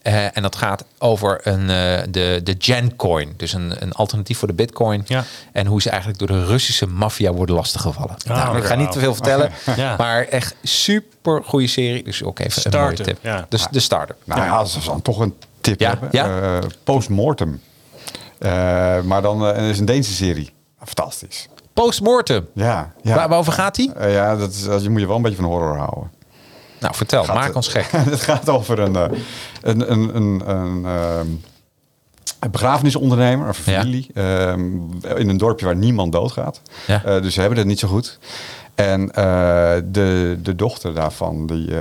Eh, en dat gaat over een, eh, de, de Gencoin. Dus een, een alternatief voor de bitcoin.
Ja.
En hoe ze eigenlijk door de Russische maffia worden lastiggevallen. nou, ik
oké.
ga niet te veel vertellen.
Oh, Ja.
Maar echt super goede serie. Dus ook even een mooie
Startup,
tip.
ja.
Dus de start-up.
Nou ja, dat is dan toch een tip
Ja,
hebben.
ja.
Eh, Postmortem. Eh, maar dan eh, het is een Deense serie. Fantastisch.
Postmortem.
Ja, ja.
Waar, waarover gaat die?
Eh, ja, dat is, dat- je moet je wel een beetje van horror houden.
Nou, vertel. maak
eh,
ons gek.
het gaat over een, eh, een, een, een, een, ehm, een begrafenisondernemer, een familie, ehm, in een dorpje waar niemand doodgaat.
Ja.
Eh, dus ze hebben het niet zo goed. En eh, de, de dochter daarvan, die eh,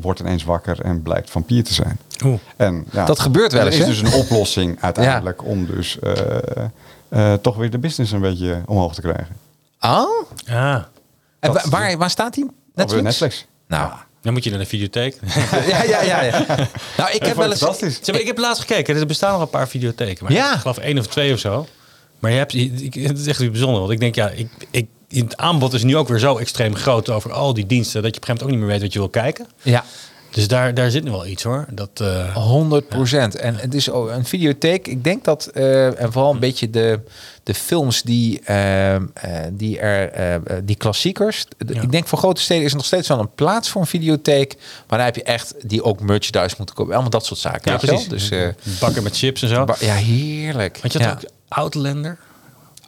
wordt ineens wakker en blijkt vampier te zijn.
Oeh.
En, ja,
Dat gebeurt wel
er
eens,
is
hè?
dus een oplossing uiteindelijk om dus eh, eh, toch weer de business een beetje omhoog te krijgen.
Oh?
Ah,
En
Dat-
wa- waar, waar staat die?
Op
eh, Netflix?
Netflix.
Nou,
dan moet je naar de videotheek.
ja, ja, ja. ja. nou, ik heb wel eens...
Fantastisch.
Zeg maar, ik heb laatst gekeken. Er bestaan nog een paar videotheken. Maar
Ja.
Ik geloof één of twee of zo. Maar je hebt, ik- het is echt iets bijzonders. Want ik denk, ja, ik, ik, het aanbod is nu ook weer zo extreem groot over al die diensten. Dat je op een gegeven moment ook niet meer weet wat je wil kijken.
Ja, Oh,
Dus daar, daar zit nu wel iets hoor. Dat, eh,
100 En het is ook een videotheek. Ik denk dat, eh, en vooral een beetje de, de films die, eh, eh, die er, eh, eh, die klassiekers. De-
Ja.
Ik denk voor grote steden is er nog steeds wel een plaats voor een videotheek. Maar daar heb je echt die ook merchandise moeten kopen. Allemaal dat soort zaken.
Ja,
weet je wel?
precies.
Dus, eh,
bakken met chips en zo.
ba- ja, heerlijk.
Want je had
Ja.
ook Outlander.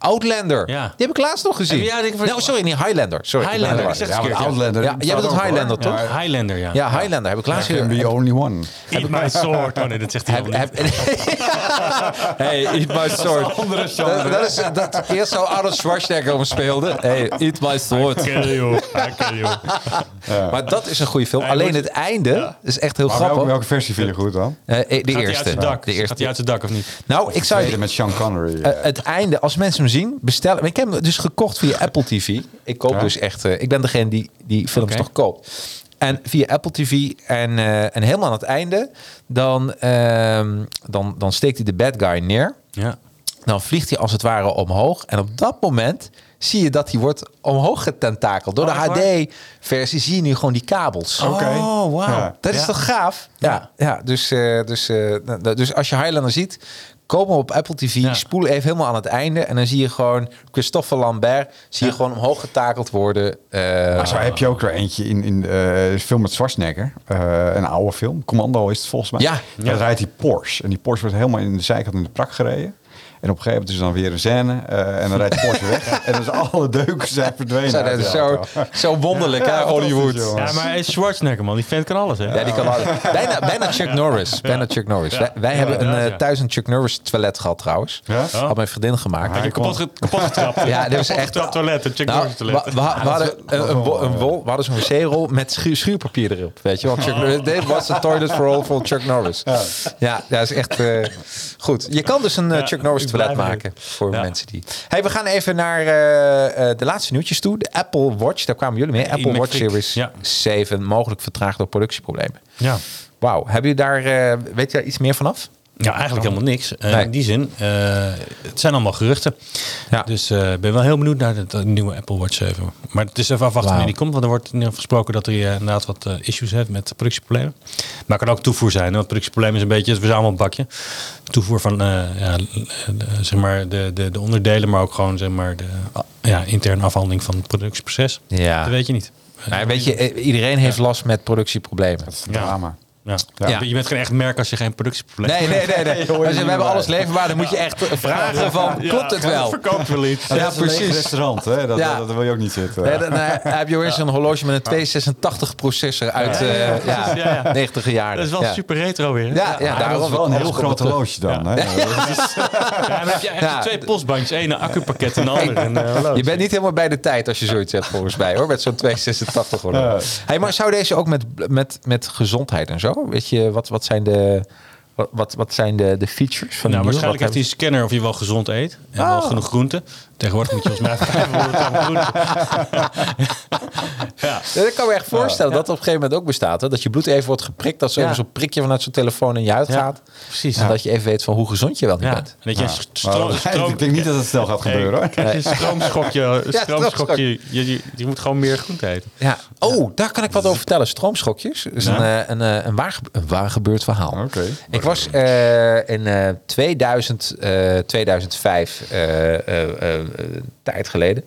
Outlander.
Ja.
Die heb ik laatst nog gezien.
Ja, die-
Nou, sorry, niet Highlander. Sorry, ik ben
Highlander,
er
ik zeg
war.
het
want
verkeerd, ja.
Outlander.
Ja, jij bedoelt Highlander, toch?
Ja, Highlander, ja.
Ja, Highlander heb ik laatst
Can be
gezien.
only one.
Eat my sword. Oh nee, dat zegt hij
Heb,
helemaal niet.
heb, hey, eat my sword. Dat, dat is dat eerst zo Arnold Schwarzenegger om speelde. Hey, eat my sword.
Kill you. I kill you.
Maar dat is een goede film.
Hij
Alleen
wordt-
het einde is echt heel
Maar
grappig.
welke, welke versie vind je goed dan?
Eh, eh, de
Gaat hij uit
eerste.
zijn dak?
De
Gaat hij
eerste.
uit zijn dak of niet?
Nou, ik zou je
Tweede met Sean Connery.
Eh, het einde, als mensen hem zien, bestellen. Ik heb hem dus gekocht via Apple TV. Ik koop
Ja.
dus echt. eh, ik ben degene die die films
Oké.
toch koopt. En via Apple TV en, eh, en helemaal aan het einde, dan, ehm, dan, dan steekt hij de bad guy neer.
Ja.
Dan vliegt hij als het ware omhoog. En op dat moment zie je dat hij wordt omhoog getentakeld. Door
Oh, echt waar?
de HD-versie zie je nu gewoon die kabels.
Oké.
Oh, wauw.
Ja.
Dat is
Ja.
toch gaaf? Ja, ja. dus, eh, dus, eh, nou, nou, dus als je Highlander ziet, kom op Apple TV,
Ja.
spoel even helemaal aan het einde. En dan zie je gewoon Christophe Lambert, zie je gewoon omhoog getakeld worden. eh,
Maar zo heb je ook er eentje in, in eh, een film met Schwarzenegger. Eh, een oude film. Commando is het volgens mij.
Ja.
Daar rijdt die Porsche. En die Porsche wordt helemaal in de zijkant in de prak gereden. En op een gegeven moment is er dan weer een scène. eh, en dan rijdt de Porsche weg. En dan zijn alle deuken zijn verdwenen.
zo, dat
uit
is
de
zo,
auto.
zo wonderlijk, hè, Hollywood.
fantastisch, jongen.
Ja, maar hij is Schwarzenegger, man. Die vent kan alles, hè?
Ja, die kan wel- bijna, bijna Chuck Norris. Bijna Chuck Norris. Wij, wij hebben een,
inderdaad,
eh,
ja.
thuis een Chuck Norris toilet gehad trouwens.
Ja?
Had mijn vriendin gemaakt.
Hij kapot, ge- kapot getrapt.
Ja, dit was
Kapot
echt-
getrapt toilet. Een Chuck
Nou,
Norris toilet.
we- we, we hadden eh, een, een, wol- een wol, we hadden zo'n wc-rol met schu- schuurpapier erop. Weet je, want Chuck Norris, dit was de toilet for all van Chuck Norris. Ja, ja dat is echt eh, goed. Je kan dus een eh,
Ja,
Chuck Norris
ik
toilet
blijf erin.
maken voor
Ja.
mensen die. Hey, we gaan even naar eh, eh, de laatste nieuwtjes toe. De Apple Watch, daar kwamen jullie mee. Apple Watch
McFreak.
Series
Ja.
7, mogelijk vertraagd door productieproblemen.
Ja.
Wauw, hebben jullie daar, eh, weet je daar iets meer vanaf?
ja, eigenlijk helemaal niks. Eh,
Nee.
In die zin, eh, het zijn allemaal geruchten.
Ja.
Dus eh, ik ben wel heel benieuwd naar de, de nieuwe Apple Watch 7. Maar het is even afwachten
Wauw.
wanneer die komt. Want er wordt in ieder geval gesproken dat hij eh, inderdaad wat eh, issues heeft met productieproblemen. Maar het kan ook toevoer zijn. hè, Want productieprobleem is een beetje het verzamelbakje. Toevoer van eh, ja, de- zeg maar de, de, de onderdelen, maar ook gewoon zeg maar de ja, interne afhandeling van het productieproces.
Ja.
Dat weet je niet.
Nou, weet je, eh, iedereen heeft last met productieproblemen.
Dat is een drama.
Ja.
Ja.
Je bent geen echt merk als je geen productieprobleem
Nee, nee, nee. nee. Als je- we hebben alles leverbaar. Dan moet je echt vragen van, klopt het wel?
Verkoopt wel iets.
Ja,
Dat is een leeg
precies.
restaurant, hè? Dat,
Ja.
dat, dat wil je ook niet zitten.
Nee, dan, eh, heb je weer zo'n horloge met een 286 processor uit eh ja,
ja, ja.
90 jaar.
Dat is wel
ja.
super retro weer. hè?
Ja, ja,
Maar dat
daarom
is wel een heel
alles komt
groot
terug.
horloge dan. Hè? Dat is-
Ja, maar heb je eigenlijk
Ja.
twee postbandjes. Eén een accupakket en de ander een eh, horloge.
Je bent niet helemaal bij de tijd als je zoiets hebt, volgens mij, hoor. Met zo'n 286 horloge. Hey, maar zou deze ook met, met, met gezondheid en zo? Weet je, wat, wat zijn de... Wat- Wat, wat zijn de, de features van die
Nou,
nieuwe?
waarschijnlijk
Wat
heeft hij een scanner of je wel gezond eet. En wel genoeg groenten. Tegenwoordig moet je volgens mij 500 gram groenten. ja.
hebben- Ja, dat kan me echt voorstellen dat dat op een gegeven moment ook bestaat. Hè? Dat je bloed even wordt geprikt. Dat zo
Ja.
even zo'n prikje vanuit zo'n telefoon in je huid gaat.
precies.
En dat je even weet van hoe gezond je wel niet
Ja. En
bent.
dat je een stroom... stroom-
Oh, Ik denk niet dat het snel gaat gebeuren. hoor.
Hey, krijg je een stroomschokje. een
Ja,
stroomschokje. Je, je, je moet gewoon meer groente eten.
Ja. Oh, daar kan ik wat over vertellen. Stroomschokjes is
Ja.
een, eh, een, eh, een, waar, gebe- een waar gebeurd verhaal.
Oké.
Ik was eh, in eh 2000, eh, 2005, eh, eh, eh, tijd geleden,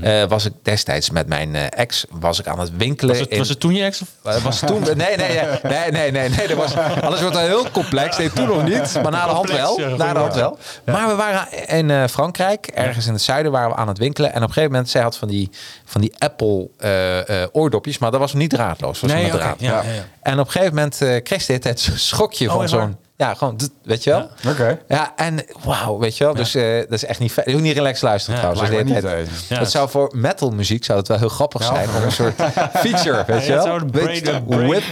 eh, was ik destijds met mijn eh, ex was ik aan het winkelen.
Was het,
in-
was het toen je ex? Of?
eh, was toen. Nee, nee, nee, nee, nee, nee, nee. Dat was, alles wordt al heel complex. Nee, toen nog niet, maar na de hand wel.
Complex, ja,
Na de hand wel. Maar we waren in eh, Frankrijk, ergens in het zuiden, waren we aan het winkelen. En op een gegeven moment, zij had van die, van die Apple eh, eh, oordopjes, maar dat was niet draadloos. Was
Nee,
met
oké,
draad.
ja, ja, ja.
En op een gegeven moment eh, kreeg ze dit het schokje
Oh,
van
echt waar?
zo'n Ja, gewoon, d- weet je wel. Ja.
Oké.
en wauw, weet je wel. Dus eh, dat is echt niet... fijn. Je hoeft niet relaxed luisteren
Ja,
trouwens.
blijkbaar
Dus de hele
niet,
tijd-
nee. Ja,
het zou voor metal muziek zou het wel heel grappig zijn. Om een soort feature, weet je
Ja,
wel.
het zou de
Weet je,
brain-
with,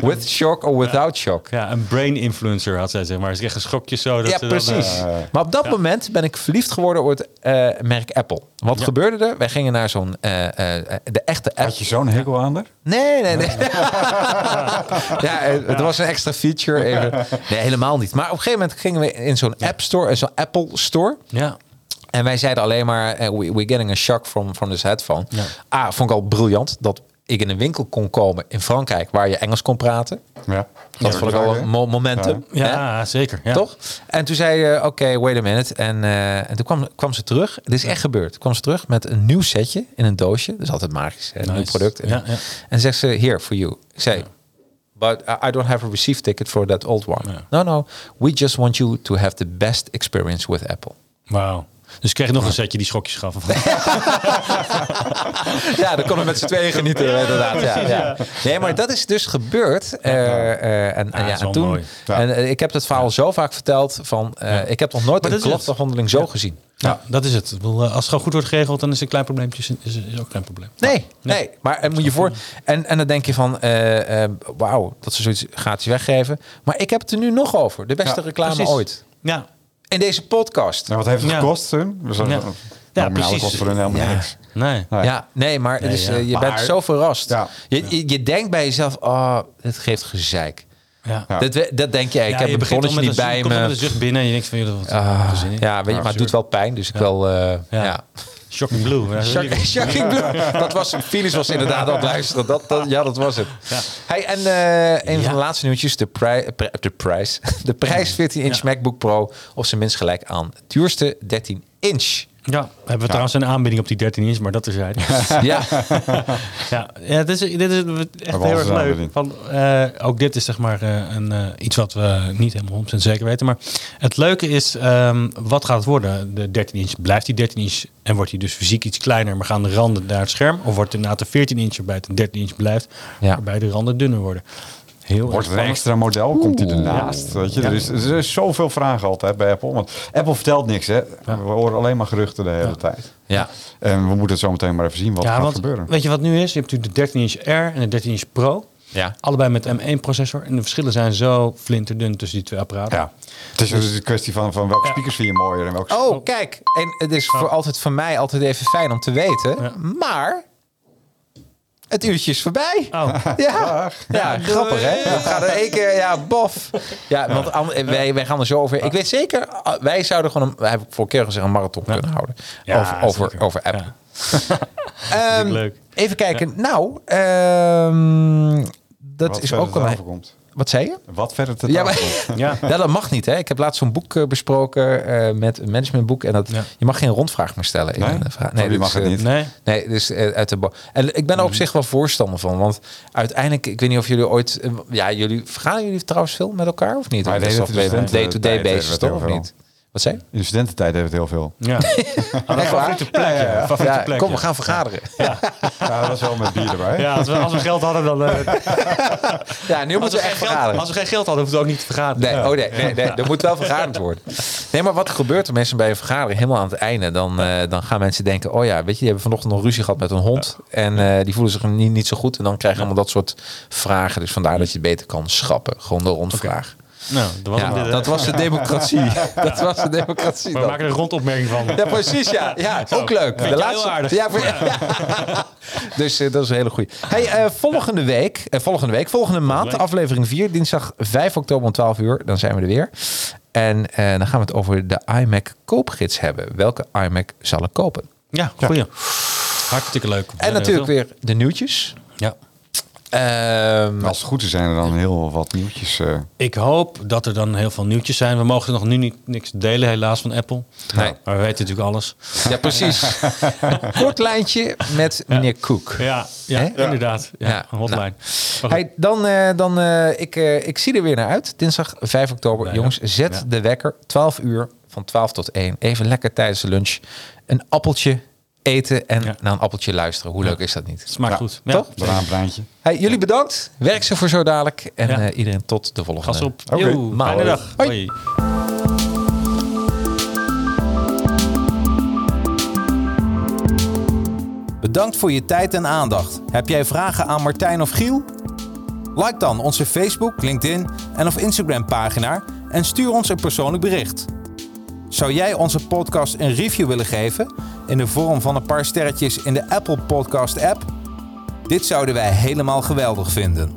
with shock or without shock.
Ja, een brain influencer had zij, zeg maar. Ze kreeg een schokje zo. Dat
Ja,
ze dan,
precies.
eh,
maar op dat moment ben ik verliefd geworden op het eh, merk Apple. Wat gebeurde er? Wij gingen naar zo'n... eh, eh, de echte app.
Had je zo'n hekel aan haar?
Nee, nee, nee. ja, het het was een extra feature. Even. Nee, helemaal niet. Maar op een gegeven moment gingen we in zo'n App Store, en zo'n Apple Store.
ja.
En wij zeiden alleen maar, eh, we, we're getting a shock from, from this headphone. Ah, vond ik al briljant dat ik in een winkel kon komen in Frankrijk waar je Engels kon praten.
Ja.
Dat vond ik al een mo- momentum.
Ja,
hè?
zeker. Ja.
Toch? En toen zei je, oké, wait a minute. En, eh, en toen kwam, kwam ze terug. Het is echt gebeurd. Kwam ze terug met een nieuw setje in een doosje. Dat is altijd magisch, hè, een nieuw
Nice.
product. En,
Ja, ja.
en zegt ze, here, for you. Ik zei, but I- I don't have a receipt ticket for that old one. No, no, we just want you to have the best experience with Apple.
Wauw. Dus ik kreeg nog een setje die schokjes gaf.
ja, dan kon we met z'n tweeën genieten. inderdaad. Ja, ja. Nee, maar dat is dus gebeurd. Eh, eh, en, en
dat
ja,
is wel
en toen,
mooi.
Ja.
en, eh, ik heb dat verhaal zo vaak verteld. Van, eh, Ik heb nog nooit
Maar
een
dat is het.
klapafhandeling zo gezien.
Ja, dat is het. Ik bedoel, eh, als het gewoon goed wordt geregeld, dan is een klein probleempje is, is, is ook een klein probleem. Nou,
Nee, nee. Maar en moet je voor. En, en dan denk je van, eh, eh, wauw, dat ze zoiets gratis weggeven. Maar ik heb het er nu nog over. De beste reclame
precies.
ooit.
Ja,
In deze podcast.
En wat heeft het
Ja.
gekost toen? Dus dat-
Ja.
nou,
Ja,
nominaal
precies.
kost voor hun helemaal
Ja.
niks.
nee.
Nee.
Ja, nee, maar het is,
ja.
eh, je bent
Maar-
zo verrast.
Ja.
Je, je, je denkt bij jezelf, oh, dit geeft gezeik.
Ja.
Ja.
Dat, we- dat denk je, ik
Ja,
heb
je
een
begint al
bonnetje
met
niet
een,
bij
komt al
me.
met een zucht binnen en je denkt van, joh, wat
Ah,
zin in.
ja, weet je, maar het doet wel pijn, dus ik wil... eh, ja.
Shocking blue. Ja, dat is
Shocking,
lief.
shocking Blue. Dat was, Finis was inderdaad aan het luisteren. Dat, dat, ja, dat was het. Hey, en eh, een
Ja.
van de laatste nieuwtjes. De, pri- pri- de prijs. De prijs 14-inch
Ja.
MacBook Pro. Op zijn minst gelijk aan het duurste 13-inch.
Ja, hebben we trouwens een aanbieding op die 13 inch, maar dat is hij.
Ja.
ja, ja, dit is, dit is echt
alles
heel erg
aan
leuk.
bedien.
Van, eh, ook dit is zeg maar eh, een, eh, iets wat we niet helemaal 100% zeker weten. Maar het leuke is, ehm, wat gaat het worden? De 13 inch, blijft die 13 inch en wordt die dus fysiek iets kleiner, maar gaan de randen naar het scherm? Of wordt het inderdaad de 14 inch waarbij het een 13 inch blijft,
Ja.
waarbij de randen dunner worden? Heel erg
Wordt het een
spannend.
extra model? Komt hij ernaast? Weet je? Er, is, er is zoveel vragen altijd bij Apple. Want Apple vertelt niks. Hè? We horen alleen maar geruchten de hele tijd.
ja.
En we moeten het zo meteen maar even zien wat er
Ja,
gaat
want
gebeuren.
weet je wat nu is? Je hebt natuurlijk de 13 inch R en de 13 inch Pro.
Ja.
Allebei met M1 processor. En de verschillen zijn zo flinterdun tussen die twee apparaten.
Ja. Het is dus een kwestie van, van welke speakers vind je mooier en welke...
Oh, kijk. En het is voor, altijd, voor mij altijd even fijn om te weten. Maar... Het uurtje is voorbij.
Oh.
Ja, ja grappig hè. Dat gaat in één keer, ja, bof. Ja, want an- eh, wij, wij gaan er zo over. Ik weet zeker, ah, wij zouden gewoon, een, we hebben voor keer gezegd, een marathon kunnen houden.
Ja,
over, over,
zeker.
over app.
Ja.
Ehm,
ook leuk.
Even kijken. Nou, ehm, dat
wat
is
verder
ook
ter
wel
tafel komt.
Wat zei je?
Wat verder te
Ja,
tafel
maar,
komt.
Ja.
ja, dat mag niet. Hè? Ik heb laatst zo'n boek eh, besproken eh, met een managementboek. En dat,
Ja.
je mag geen rondvraag meer stellen. in
Nee?
een vraag.
Oh, die
dit
mag
is,
het
eh,
niet.
Nee?
Nee, dus eh, uit de bo- En ik ben
Mhm.
er op zich wel voorstander van. Want uiteindelijk, ik weet niet of jullie ooit. eh, Ja, jullie gaan jullie trouwens veel met elkaar of niet?
Maar
Want
nee,
dat
dus
dat is
is
eh,
wel-
day-to-day
nee, dat
basis,
is wel
toch? Of
heel
niet? Wat zei? je?
In de studententijd hebben we het heel veel.
Ja. Ah, mijn
Echt waar?
favoriete plek. Ja, Favoriete
Ja,
plek,
kom,
ja.
we gaan vergaderen.
Ja, dat was wel met bier erbij.
Ja, als we, als we geld hadden, dan...
Ja,
eh,
nu
als, we
moeten we
geen
echt
geld-
vergaderen.
als we geen geld hadden, hoefden we ook niet te vergaderen.
Nee,
Ja.
oh nee, nee, nee, er moet wel vergaderd worden. Nee, maar wat gebeurt er mensen bij een vergadering helemaal aan het einde? Dan, eh, dan gaan mensen denken, oh ja, weet je, die hebben vanochtend nog ruzie gehad met een hond. En eh, die voelen zich niet, niet zo goed. En dan krijgen je allemaal dat soort vragen. Dus vandaar dat je het beter kan schappen. Gewoon door rondvraag.
Nou, dat was hem
Ja,
dit, hè.
dat was de democratie. Dat was de democratie.
Maar
dan.
we maken er een rondopmerking van.
Ja, precies, ja. ja ook leuk.
Vind
de
je
laatste.
heel aardig.
Ja, voor- ja. Dus eh, dat is een hele goeie. Hey, eh, volgende, week, eh, volgende week, volgende maand,
week.
aflevering 4, dinsdag 5 oktober om 12 uur. Dan zijn we er weer. En eh, dan gaan we het over de iMac koopgids hebben. Welke iMac zal ik kopen?
Ja, goeie. Hartstikke leuk.
En natuurlijk weer de nieuwtjes.
Ja.
Ehm,
Als het goed is, zijn er dan heel wat nieuwtjes. eh.
Ik hoop dat er dan heel veel nieuwtjes zijn. We mogen nog nu niet, niks delen, helaas, van Apple. Nou,
Nee.
Maar we weten natuurlijk alles.
ja, precies. Kort lijntje met meneer Koek.
Ja, ja
Hè?
inderdaad. Ja,
Ja,
een hotline.
nou.
Maar goed.
Hey, dan, eh, dan eh, ik, eh, ik zie er weer naar uit. Dinsdag 5 oktober.
Ja,
Jongens,
ja.
zet
Ja.
de wekker. 12 uur van 12 tot 1. Even lekker tijdens de lunch. Een appeltje
eten en
Ja.
naar een appeltje luisteren. Hoe leuk is dat niet?
Smaakt
Ja,
goed.
toch?
Ja.
Banaanbruintje.
Hey, jullie bedankt. Werk ze voor zo dadelijk. En
Ja.
eh, iedereen tot de volgende.
Gas op.
Oké.
Yo, fijne
Hoi.
dag.
Hoi.
Hoi.
Bedankt voor je tijd en aandacht. Heb jij vragen aan Martijn of Giel? Like dan onze Facebook, LinkedIn en of Instagram pagina en stuur ons een persoonlijk bericht. Zou jij onze podcast een review willen geven in de vorm van een paar sterretjes in de Apple Podcast app? Dit zouden wij helemaal geweldig vinden.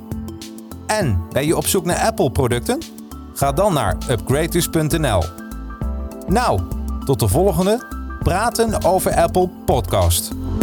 En ben je op zoek naar Apple producten? Ga dan naar upgraders.nl. Nou, tot de volgende Praten over Apple podcast.